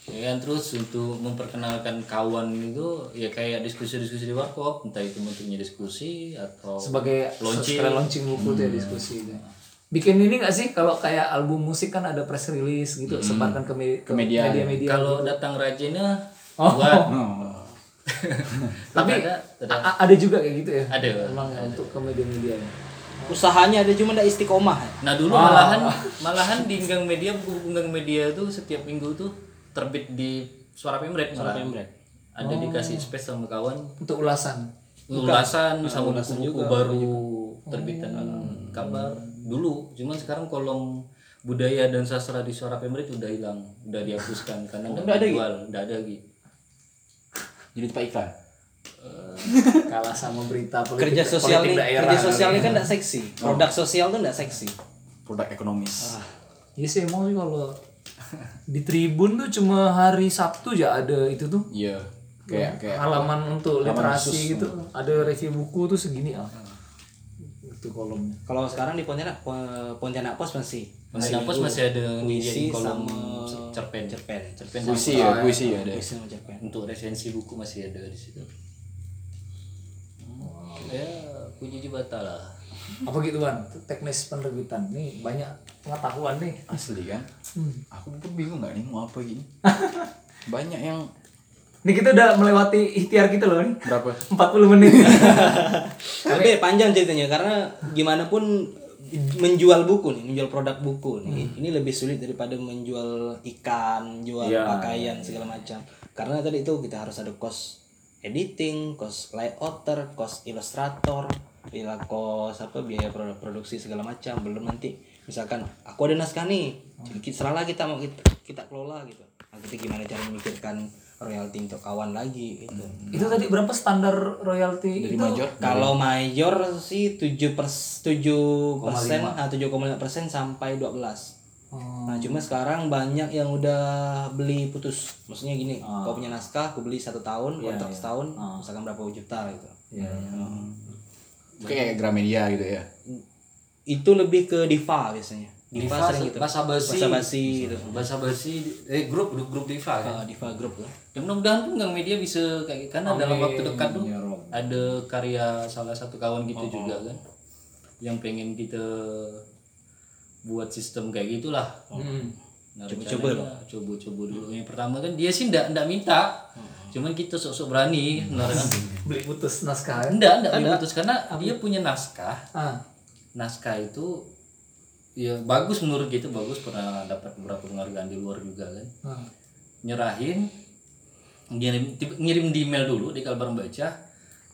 [SPEAKER 6] ya kan terus untuk memperkenalkan kawan itu ya kayak diskusi-diskusi di warkop entah itu bentuknya diskusi atau
[SPEAKER 3] sebagai
[SPEAKER 6] launching
[SPEAKER 3] sekali launching buku
[SPEAKER 2] Hmm.
[SPEAKER 3] tuh ya diskusi itu. Bikin ini gak sih kalau kayak album musik kan ada press release
[SPEAKER 2] Hmm.
[SPEAKER 3] gitu sebarkan ke, me- ke
[SPEAKER 1] media.
[SPEAKER 3] media-media.
[SPEAKER 6] kalau datang rajinnya
[SPEAKER 3] Oh.
[SPEAKER 6] buat
[SPEAKER 1] oh.
[SPEAKER 6] [LAUGHS] tapi ada, ada,
[SPEAKER 3] A- ada juga kayak gitu ya.
[SPEAKER 6] ada.
[SPEAKER 3] Emang ya, untuk ke media-media. ya.
[SPEAKER 2] usahanya ada cuma tidak istiqomah
[SPEAKER 6] Nah dulu malahan malahan di Gang Media buku Gang Media tuh setiap minggu tuh terbit di Suara Pemret. Oh. Suara Ada dikasih space sama kawan
[SPEAKER 3] Untuk ulasan.
[SPEAKER 6] Ah, ulasan Oh. sama buku-buku baru terbitan kabar dulu. Cuman sekarang kolom budaya dan sastra di Suara Pemret udah hilang, udah dihapuskan karena udah Oh, ada dijual, udah ada lagi.
[SPEAKER 1] jadi tempat iklan
[SPEAKER 3] Kalah sama berita politik.
[SPEAKER 2] kerja kan sosial
[SPEAKER 3] politik
[SPEAKER 2] nih
[SPEAKER 3] daerah. gitu.
[SPEAKER 2] kerja sosial ini kan tidak seksi produk sosial tuh tidak seksi
[SPEAKER 1] produk ekonomis
[SPEAKER 3] Iya sih emang sih kalau di Tribun tuh cuma hari Sabtu ya ada itu tuh
[SPEAKER 1] Iya. Kayak kayak
[SPEAKER 3] halaman untuk literasi gitu ada review buku tuh segini ah itu kolomnya
[SPEAKER 2] Kalau sekarang di Pontianak Po- Pontianak Pos masih
[SPEAKER 6] Masih
[SPEAKER 2] Ada
[SPEAKER 6] Pos
[SPEAKER 2] itu.
[SPEAKER 6] masih ada
[SPEAKER 2] puisi
[SPEAKER 6] dijadiin kolom
[SPEAKER 2] sama
[SPEAKER 6] cerpen.
[SPEAKER 2] cerpen, cerpen sama-
[SPEAKER 1] puisi ya, puisi ya ada.
[SPEAKER 2] puisi sama cerpen.
[SPEAKER 6] untuk referensi buku masih ada di situ. Ya, puji jebata lah.
[SPEAKER 3] apa gitu kan Itu teknis penerbitan nih banyak pengetahuan nih
[SPEAKER 1] Asli kan? Aku pun bingung nggak nih mau apa [LAUGHS] gini. Banyak yang
[SPEAKER 3] nih kita udah melewati ikhtiar kita loh nih
[SPEAKER 1] berapa?
[SPEAKER 3] 40 menit
[SPEAKER 2] Tapi panjang ceritanya karena gimana pun menjual buku nih, menjual produk buku nih. Ini lebih sulit daripada menjual ikan, jual pakaian segala macam. Karena tadi itu kita harus ada cost editing, cost layouter, cost ilustrator, bila cost apa biaya produk produksi segala macam. Belum nanti misalkan aku ada naskah nih, sedikit serala kita mau kita, kita kelola gitu. Nah, kita gimana cara memikirkan royalti untuk kawan lagi gitu.
[SPEAKER 3] [LAUGHS] itu tadi berapa standar royalti itu
[SPEAKER 2] Kalau mayor sih 7 pers, 7 persen, nah, 7,5 persen sampai 12. Nah cuma sekarang banyak yang udah beli putus. Maksudnya gini, kau punya naskah, aku beli satu tahun, kontrak setahun, misalkan berapa juta gitu.
[SPEAKER 1] Kayak Gramedia gitu ya.
[SPEAKER 2] Itu lebih ke diva biasanya. Diva, sering gitu.
[SPEAKER 6] bahasa basi,
[SPEAKER 2] Bahasa basi gitu.
[SPEAKER 6] bahasa basi, eh grup grup grup diva
[SPEAKER 2] Ah,
[SPEAKER 6] kan.
[SPEAKER 2] diva group lah.
[SPEAKER 6] Ya mudah-mudahan tuh Gang Media bisa kayak gitu. karena dalam waktu dekat tuh ada karya salah satu kawan gitu juga kan yang pengen kita buat sistem kayak gitulah.
[SPEAKER 3] Hmm.
[SPEAKER 6] Nah, coba coba-coba dulu. Yang pertama kan dia sih ndak ndak minta. Cuman kita sok-sok berani sebenarnya.
[SPEAKER 3] beli putus naskah ya?
[SPEAKER 6] Ndak ndak diputus karena dia punya naskah.
[SPEAKER 3] ah
[SPEAKER 6] Naskah itu ya bagus menurut gitu bagus pernah dapat beberapa penghargaan di luar juga kan
[SPEAKER 3] ah.
[SPEAKER 6] nyerahin ngirim tiba- ngirim di email dulu di kalbar baca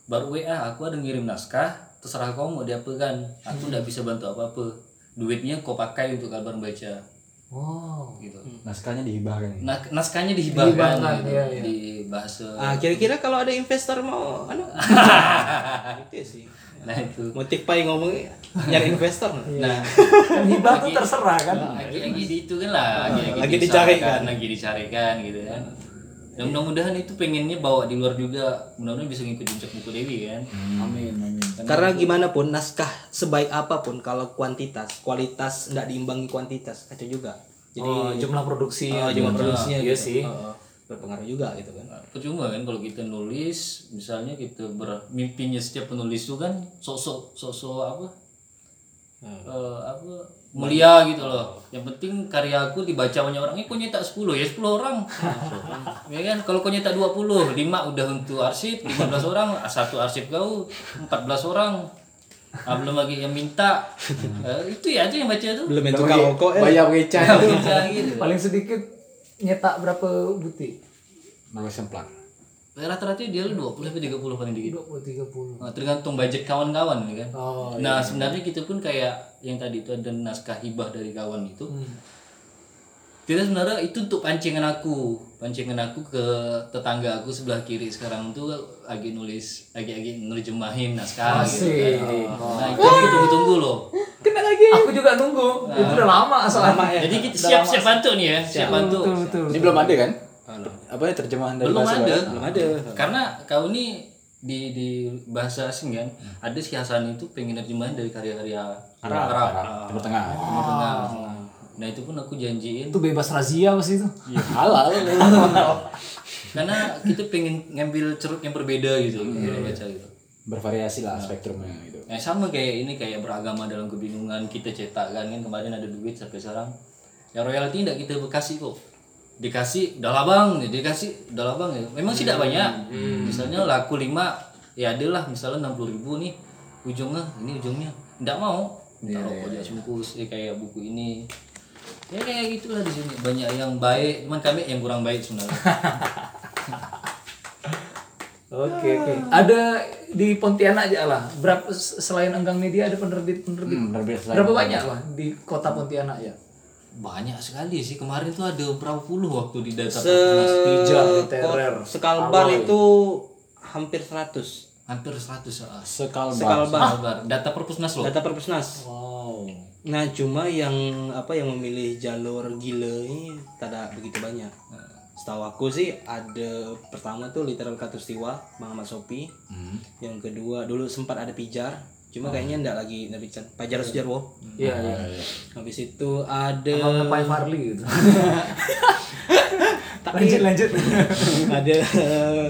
[SPEAKER 6] baru WA aku ada ngirim naskah terserah kau mau diapakan
[SPEAKER 3] Hmm.
[SPEAKER 6] aku nggak bisa bantu apa-apa duitnya kau pakai untuk kalbar baca
[SPEAKER 3] wow
[SPEAKER 6] gitu
[SPEAKER 1] Naskahnya dihibahkan.
[SPEAKER 6] nah naskahnya dihibahkan
[SPEAKER 3] Dihibahkan,
[SPEAKER 6] gitu,
[SPEAKER 3] iya, iya.
[SPEAKER 6] di bahasa
[SPEAKER 2] Ah, kira-kira kalau ada investor
[SPEAKER 3] [LAUGHS]
[SPEAKER 2] mau anu itu sih.
[SPEAKER 6] nah itu
[SPEAKER 2] Motif pai ngomongnya nyari investor.
[SPEAKER 6] nah
[SPEAKER 3] kan hibah tuh terserah kan
[SPEAKER 6] lagi-lagi di Nah, itu kan lah lagi-lagi
[SPEAKER 2] Lagi
[SPEAKER 6] diusahakan,
[SPEAKER 2] dicarikan.
[SPEAKER 6] lagi dicarikan gitu kan dan mudah-mudahan itu pengennya bawa di luar juga mudah-mudahan bisa ngikut jejak buku Dewi kan
[SPEAKER 4] Amin, amin.
[SPEAKER 2] Karena gimana pun naskah sebaik apapun kalau kuantitas, kualitas nggak diimbangi kuantitas kacau juga. Jadi
[SPEAKER 3] oh, jumlah produksi
[SPEAKER 2] eh, jumlah produksinya
[SPEAKER 3] iya
[SPEAKER 2] gitu.
[SPEAKER 3] sih
[SPEAKER 2] Eh, berpengaruh juga gitu kan.
[SPEAKER 6] percuma kan kalau kita nulis misalnya kita ber mimpinya setiap penulis itu kan sosok sosok apa Eh, apa mulia gitu loh yang penting karya aku dibaca banyak orang ini kok nyetak 10 ya 10 orang ya kan kalau kau nyetak 20 5 udah untuk arsip 15 orang ah, satu arsip kau 14 orang Ah, belum lagi yang minta Eh, itu ya aja yang baca tuh
[SPEAKER 2] Belum itu kalau kok eh,
[SPEAKER 1] Bayar kecah.
[SPEAKER 6] Baca gitu.
[SPEAKER 3] paling sedikit nyetak berapa butir
[SPEAKER 1] Nama semplak.
[SPEAKER 6] rata-rata dia 20 sampai 30 paling dikit
[SPEAKER 3] 20 30
[SPEAKER 6] Nah, tergantung budget kawan-kawan ya kan.
[SPEAKER 3] Oh,
[SPEAKER 6] nah, sebenarnya kita pun kayak yang tadi itu ada naskah hibah dari kawan itu.
[SPEAKER 3] Hmm.
[SPEAKER 6] Tidak sebenarnya itu untuk pancingan aku, pancingan aku ke tetangga aku sebelah kiri sekarang tuh lagi nulis, lagi-lagi nerjemahin naskah
[SPEAKER 3] Asik. Oh.
[SPEAKER 6] gitu. Kan. Nah, itu aku tunggu-tunggu loh.
[SPEAKER 3] kena lagi aku juga nunggu itu udah lama soalnya
[SPEAKER 6] Jadi kita siap-siap bantu nih ya, siap bantu.
[SPEAKER 3] betul betul
[SPEAKER 1] Ini belum ada kan? Apa ya terjemahan dari
[SPEAKER 6] belum
[SPEAKER 1] bahasa
[SPEAKER 6] ada
[SPEAKER 1] Barat?
[SPEAKER 6] belum ada karena kau ini di di bahasa asing kan ada si Hasan itu pengen terjemahan dari karya-karya Arab, Arab.
[SPEAKER 1] Arab, Timur Tengah.
[SPEAKER 6] Timur Tengah. nah itu pun aku janjiin
[SPEAKER 3] itu bebas razia pasti itu
[SPEAKER 1] Iya, halal.
[SPEAKER 6] karena kita pengen ngambil ceruk yang berbeda gitu kalau baca gitu
[SPEAKER 1] Bervariasi lah spektrumnya gitu.
[SPEAKER 6] Nah, sama kayak ini kayak beragama dalam kebingungan kita cetak kan kan kemarin ada duit sampai sekarang. Ya royalti tidak kita kasih kok. Dikasih udah labang, ya, dikasih udah labang ya. Memang sih tidak banyak. Misalnya laku 5 ya adalah misalnya 60 ribu nih ujungnya ini ujungnya tidak mau minta rokok yeah, bungkus ya kayak buku ini ya kayak gitulah di sini banyak yang baik cuman kami yang kurang baik sebenarnya [LAUGHS]
[SPEAKER 3] oke oke ada di Pontianak aja lah berapa s- selain Enggang Media ada penerbit penerbit
[SPEAKER 1] Hmm, berbeda
[SPEAKER 3] berapa banyak lah di kota Pontianak ya
[SPEAKER 6] banyak sekali sih kemarin tuh ada berapa puluh waktu di data
[SPEAKER 2] se
[SPEAKER 3] Hijab, literer,
[SPEAKER 2] sekalbar itu hampir 100.
[SPEAKER 6] hampir 100 soal.
[SPEAKER 1] Sekalbar.
[SPEAKER 2] sekalbar
[SPEAKER 6] Data perpusnas loh.
[SPEAKER 2] data perpusnas
[SPEAKER 1] Wow.
[SPEAKER 2] nah cuma yang apa yang memilih jalur gile ini tidak begitu banyak setahu aku sih ada pertama tuh literal katustiwa Muhammad Sopi
[SPEAKER 1] Hmm. Oh.
[SPEAKER 2] yang kedua dulu sempat ada pijar cuma kayaknya ndak lagi ndak pijar pajar Sujarwo
[SPEAKER 3] Iya, iya.
[SPEAKER 1] Nah,
[SPEAKER 2] habis itu ada
[SPEAKER 3] Kalau Pai Farli
[SPEAKER 2] [LAUGHS]
[SPEAKER 3] gitu.
[SPEAKER 2] Hmm. Tapi-
[SPEAKER 3] [LAUGHS] lanjut lanjut.
[SPEAKER 2] [LAUGHS] ada Eh,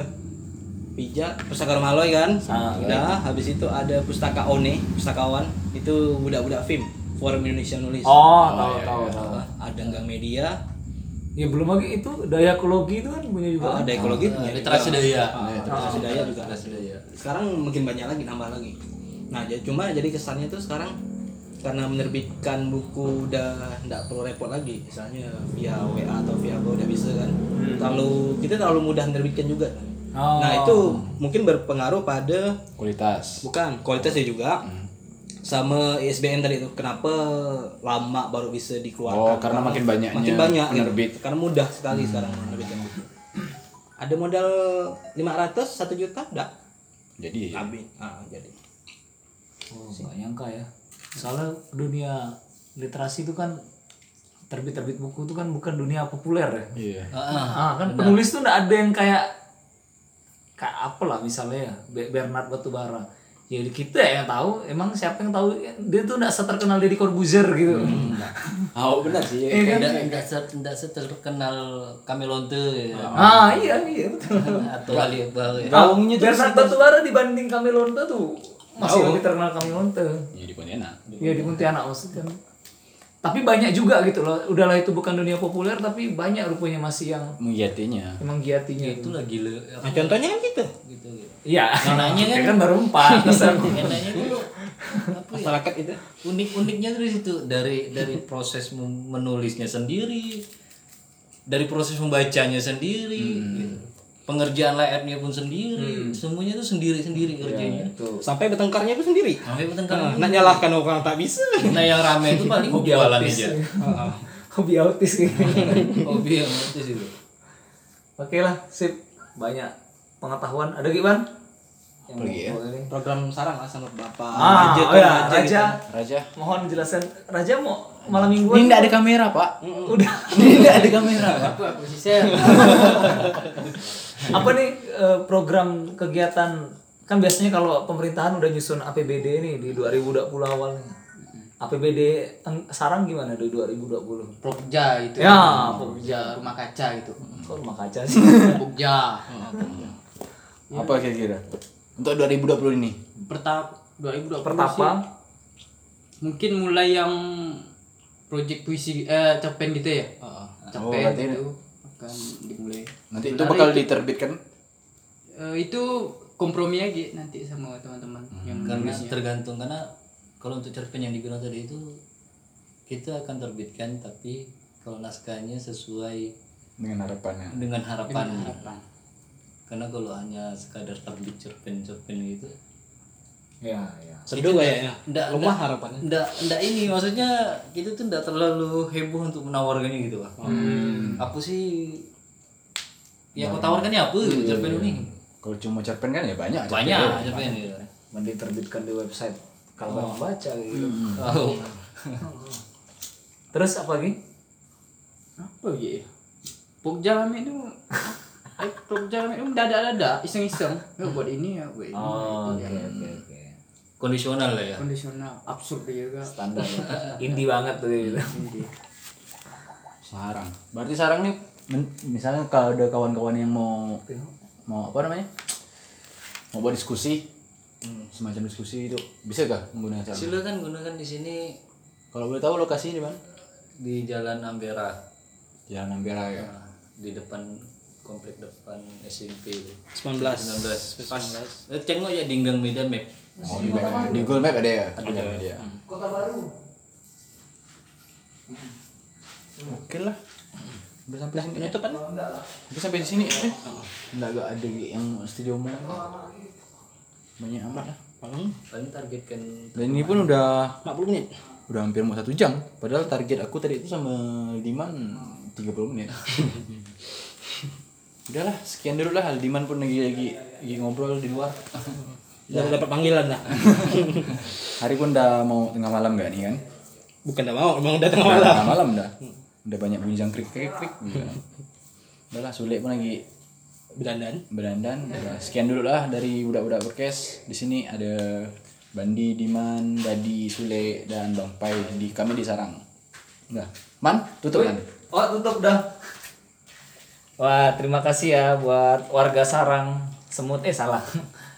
[SPEAKER 2] pijak pustaka Maloy kan udah habis itu ada pustaka One pustakawan itu budak-budak film forum Indonesia nulis
[SPEAKER 3] Oh,
[SPEAKER 2] iya,
[SPEAKER 3] tahu tahu tahu.
[SPEAKER 2] Apa, ada gang media
[SPEAKER 3] Ya belum lagi itu daya ekologi itu kan punya juga.
[SPEAKER 6] Ah,
[SPEAKER 2] ada ekologi punya juga.
[SPEAKER 6] Literasi daya.
[SPEAKER 2] Ah, literasi daya juga
[SPEAKER 6] Iya. Ah, Literasi daya.
[SPEAKER 2] sekarang makin banyak lagi nambah lagi nah jadi cuma jadi kesannya tuh sekarang karena menerbitkan buku udah nggak perlu repot lagi misalnya via WA atau via apa udah bisa kan terlalu kita terlalu mudah menerbitkan juga kan.
[SPEAKER 3] Hmm. Oh.
[SPEAKER 2] nah itu mungkin berpengaruh pada
[SPEAKER 1] Kualitas.
[SPEAKER 2] Bukan, kualitasnya juga.
[SPEAKER 1] Hmm.
[SPEAKER 2] Sama ISBN tadi itu kenapa lama baru bisa dikeluarkan?
[SPEAKER 1] Oh, karena makin banyaknya
[SPEAKER 2] Makin banyak gitu.
[SPEAKER 1] penerbit. Hmm.
[SPEAKER 2] Karena mudah sekali sekarang menerbitkan buku. Ada modal 500 1 juta enggak?
[SPEAKER 1] Jadi
[SPEAKER 2] Habis. Ah, jadi.
[SPEAKER 3] Oh, nggak nyangka ya. Soalnya dunia literasi itu kan terbit-terbit buku itu kan bukan dunia populer ya.
[SPEAKER 1] iya.
[SPEAKER 3] Ah, kan penulis tuh nggak ada yang kayak kayak apa lah misalnya ya, Be- Bernard Batubara. Jadi kita yang tahu, emang siapa yang tahu dia tuh nggak seterkenal Deddy Corbuzier gitu.
[SPEAKER 1] Oh, benar sih.
[SPEAKER 6] Tidak tidak se- tidak seterkenal Kamelonte ya.
[SPEAKER 3] Ah iya iya betul.
[SPEAKER 6] atau Ali Iqbal ya.
[SPEAKER 3] Gaungnya Bernard Batubara dibanding Kamelonte tuh masih lebih terkenal Kamelonte.
[SPEAKER 1] Jadi Oh. Pontianak.
[SPEAKER 3] Iya di Pontianak maksudnya. Tapi banyak juga gitu loh. Udahlah itu bukan dunia populer tapi banyak rupanya masih yang
[SPEAKER 1] Menggiatinya.
[SPEAKER 3] emang giatinya itu. [LAUGHS]
[SPEAKER 6] Itulah gila
[SPEAKER 2] Nah, contohnya kan gitu.
[SPEAKER 6] gitu.
[SPEAKER 3] Iya.
[SPEAKER 6] nanya
[SPEAKER 3] Ya
[SPEAKER 6] kan.
[SPEAKER 3] kan baru
[SPEAKER 6] [LAUGHS]
[SPEAKER 3] empat. Kesan.
[SPEAKER 6] Enaknya dulu apa ya?
[SPEAKER 2] Masyarakat itu
[SPEAKER 6] unik-uniknya dari situ dari dari proses mem- menulisnya sendiri dari proses membacanya sendiri gitu. pengerjaan layarnya pun sendiri semuanya itu sendiri-sendiri kerjanya
[SPEAKER 2] sampai bertengkarnya itu sendiri. Nah,
[SPEAKER 6] sampai bertengkar
[SPEAKER 2] nak nyalahkan orang tak bisa.
[SPEAKER 1] Iya.
[SPEAKER 6] nah yang rame itu paling jualan aja
[SPEAKER 3] Hobi autis gitu.
[SPEAKER 6] hobi yang itu sih
[SPEAKER 3] Oke lah, sip. Banyak pengetahuan. Ada gimana? Yang
[SPEAKER 1] ya.
[SPEAKER 3] mau ini.
[SPEAKER 2] Program sarang lah sama Bapak.
[SPEAKER 3] Ah,
[SPEAKER 2] Raja
[SPEAKER 3] Raja,
[SPEAKER 2] tuh,
[SPEAKER 3] oh ya,
[SPEAKER 2] Raja gitu kan.
[SPEAKER 3] Raja,
[SPEAKER 1] Raja.
[SPEAKER 3] mohon jelasan Raja mau malam mingguan.
[SPEAKER 1] Ini enggak ada kamera, Pak.
[SPEAKER 3] [LAUGHS] Udah.
[SPEAKER 1] Ini enggak ada kamera. Pak.
[SPEAKER 3] [LAUGHS] Apa nih eh, program kegiatan kan biasanya kalau pemerintahan udah nyusun APBD nih di 2020 awal nih. APBD eng- sarang gimana di 2020?
[SPEAKER 5] Pokja itu.
[SPEAKER 3] Ya,
[SPEAKER 5] Pokja rumah kaca itu.
[SPEAKER 3] Kok rumah kaca sih?
[SPEAKER 5] Pokja.
[SPEAKER 1] Apa kira-kira? Untuk 2020 ini.
[SPEAKER 5] Pertap 2020 sih,
[SPEAKER 3] Pertapa.
[SPEAKER 5] mungkin mulai yang project puisi eh cerpen gitu ya.
[SPEAKER 1] Oh,
[SPEAKER 5] Cerpen
[SPEAKER 1] berarti
[SPEAKER 5] itu akan dimulai.
[SPEAKER 1] nanti itu
[SPEAKER 5] Sebenarnya
[SPEAKER 1] bakal diterbitkan.
[SPEAKER 5] eh, itu kompromi lagi nanti sama teman-teman yang
[SPEAKER 6] karena tergantung karena kalau untuk cerpen yang dibilang tadi itu kita akan terbitkan tapi kalau naskahnya sesuai
[SPEAKER 1] dengan harapannya.
[SPEAKER 6] dengan harapan, karena kalau hanya sekadar terbit cerpen-cerpen gitu
[SPEAKER 3] Ya, ya.
[SPEAKER 2] Seduh kayaknya.
[SPEAKER 6] ndak
[SPEAKER 2] Lemah harapannya.
[SPEAKER 6] ndak ndak ini maksudnya kita tuh ndak terlalu heboh untuk menawarkannya gitu lah apa sih yang kau tawarkannya apa gitu cerpen ini
[SPEAKER 1] Kalau cuma cerpen kan ya banyak. cerpen.
[SPEAKER 6] banyak cerpen gitu
[SPEAKER 3] Mending terbitkan di website kalau orang baca gitu.
[SPEAKER 6] oh.
[SPEAKER 3] Terus apa lagi?
[SPEAKER 5] apa gitu ya? Pokja kami [LAUGHS] itu eh, Pokja kami itu dadak-dadak iseng-iseng ya, buat ini ya buat ini
[SPEAKER 3] Oh,
[SPEAKER 5] Itu
[SPEAKER 3] oke
[SPEAKER 5] yang
[SPEAKER 3] oke oke.
[SPEAKER 6] kondisional lah ya
[SPEAKER 5] kondisional absurd juga
[SPEAKER 3] Standar. Indie banget tuh gitu.
[SPEAKER 1] Sarang. Berarti sarang nih men- misalnya kalau ada kawan-kawan yang mau
[SPEAKER 3] Ya.
[SPEAKER 1] mau apa namanya? Mau buat diskusi.
[SPEAKER 3] Hmm.
[SPEAKER 1] Semacam diskusi itu bisa gak menggunakan sarang?
[SPEAKER 6] silakan gunakan di sini
[SPEAKER 1] Kalau boleh tahu lokasi di mana?
[SPEAKER 6] di Jalan Ambera
[SPEAKER 1] Jalan Ampera ya.
[SPEAKER 6] nah, di depan komplek depan SMP itu.
[SPEAKER 2] 19
[SPEAKER 6] 19 pas eh, tengok ya di Gang Medan Map
[SPEAKER 1] Oh, di, Map- di Google Map ada ya? Ada. ya. Oke lah. Udah sampai sini ya. Udah sampai di sini. Eh. Enggak enggak ada yang studio mana. Banyak amat lah.
[SPEAKER 6] paling targetkan
[SPEAKER 1] Dan ini pun udah
[SPEAKER 2] 40 menit.
[SPEAKER 1] udah hampir mau satu jam. Padahal target aku tadi itu sama Diman 30 [LAUGHS] menit. Udahlah, sekian dulu lah. Diman pun lagi lagi, lagi ngobrol di luar.
[SPEAKER 2] Udah dapat panggilan lah.
[SPEAKER 1] [LAUGHS] Hari pun udah mau tengah malam gak nih kan?
[SPEAKER 2] Bukan udah mau, emang udah [LAUGHS] tengah
[SPEAKER 1] Udah
[SPEAKER 2] malam.
[SPEAKER 1] tengah malam dah. Udah banyak bunyi jangkrik krik krik gitu. Udah lah sulit pun lagi
[SPEAKER 2] Belandan.
[SPEAKER 1] berandan. Udah lah. Sekian dulu lah dari budak-budak berkes. Di sini ada Bandi, Diman, Dadi, Sule, dan Bang Pai di kami di Sarang. Udah. Man, tutup kan?
[SPEAKER 3] Oh tutup dah. Wah terima kasih ya buat warga Sarang Semut eh salah.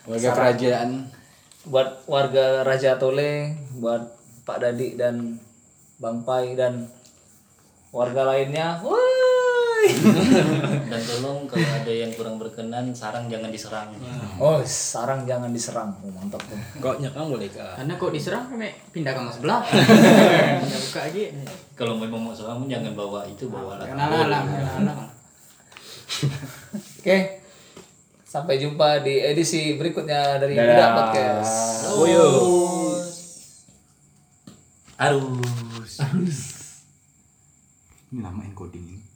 [SPEAKER 1] Warga kerajaan
[SPEAKER 3] buat warga Raja Tole, buat Pak Dadi dan Bang Pai dan warga lainnya. Woi.
[SPEAKER 6] Dan tolong kalau ada yang kurang berkenan, sarang jangan diserang.
[SPEAKER 3] oh Sarang jangan diserang. Oh, mantap tuh.
[SPEAKER 2] Kok nyekang boleh kak?
[SPEAKER 5] Karena kok diserang kami pindah kamar sebelah. Udah buka aja.
[SPEAKER 6] Kalau memang mau serang, jangan bawa itu, bawa lah.
[SPEAKER 5] Kenalan lah, kenalan lah.
[SPEAKER 3] Oke. Sampai jumpa di edisi berikutnya dari
[SPEAKER 1] Dadah.
[SPEAKER 3] Budak Podcast.
[SPEAKER 6] Harus.
[SPEAKER 1] Ini lama encoding ini.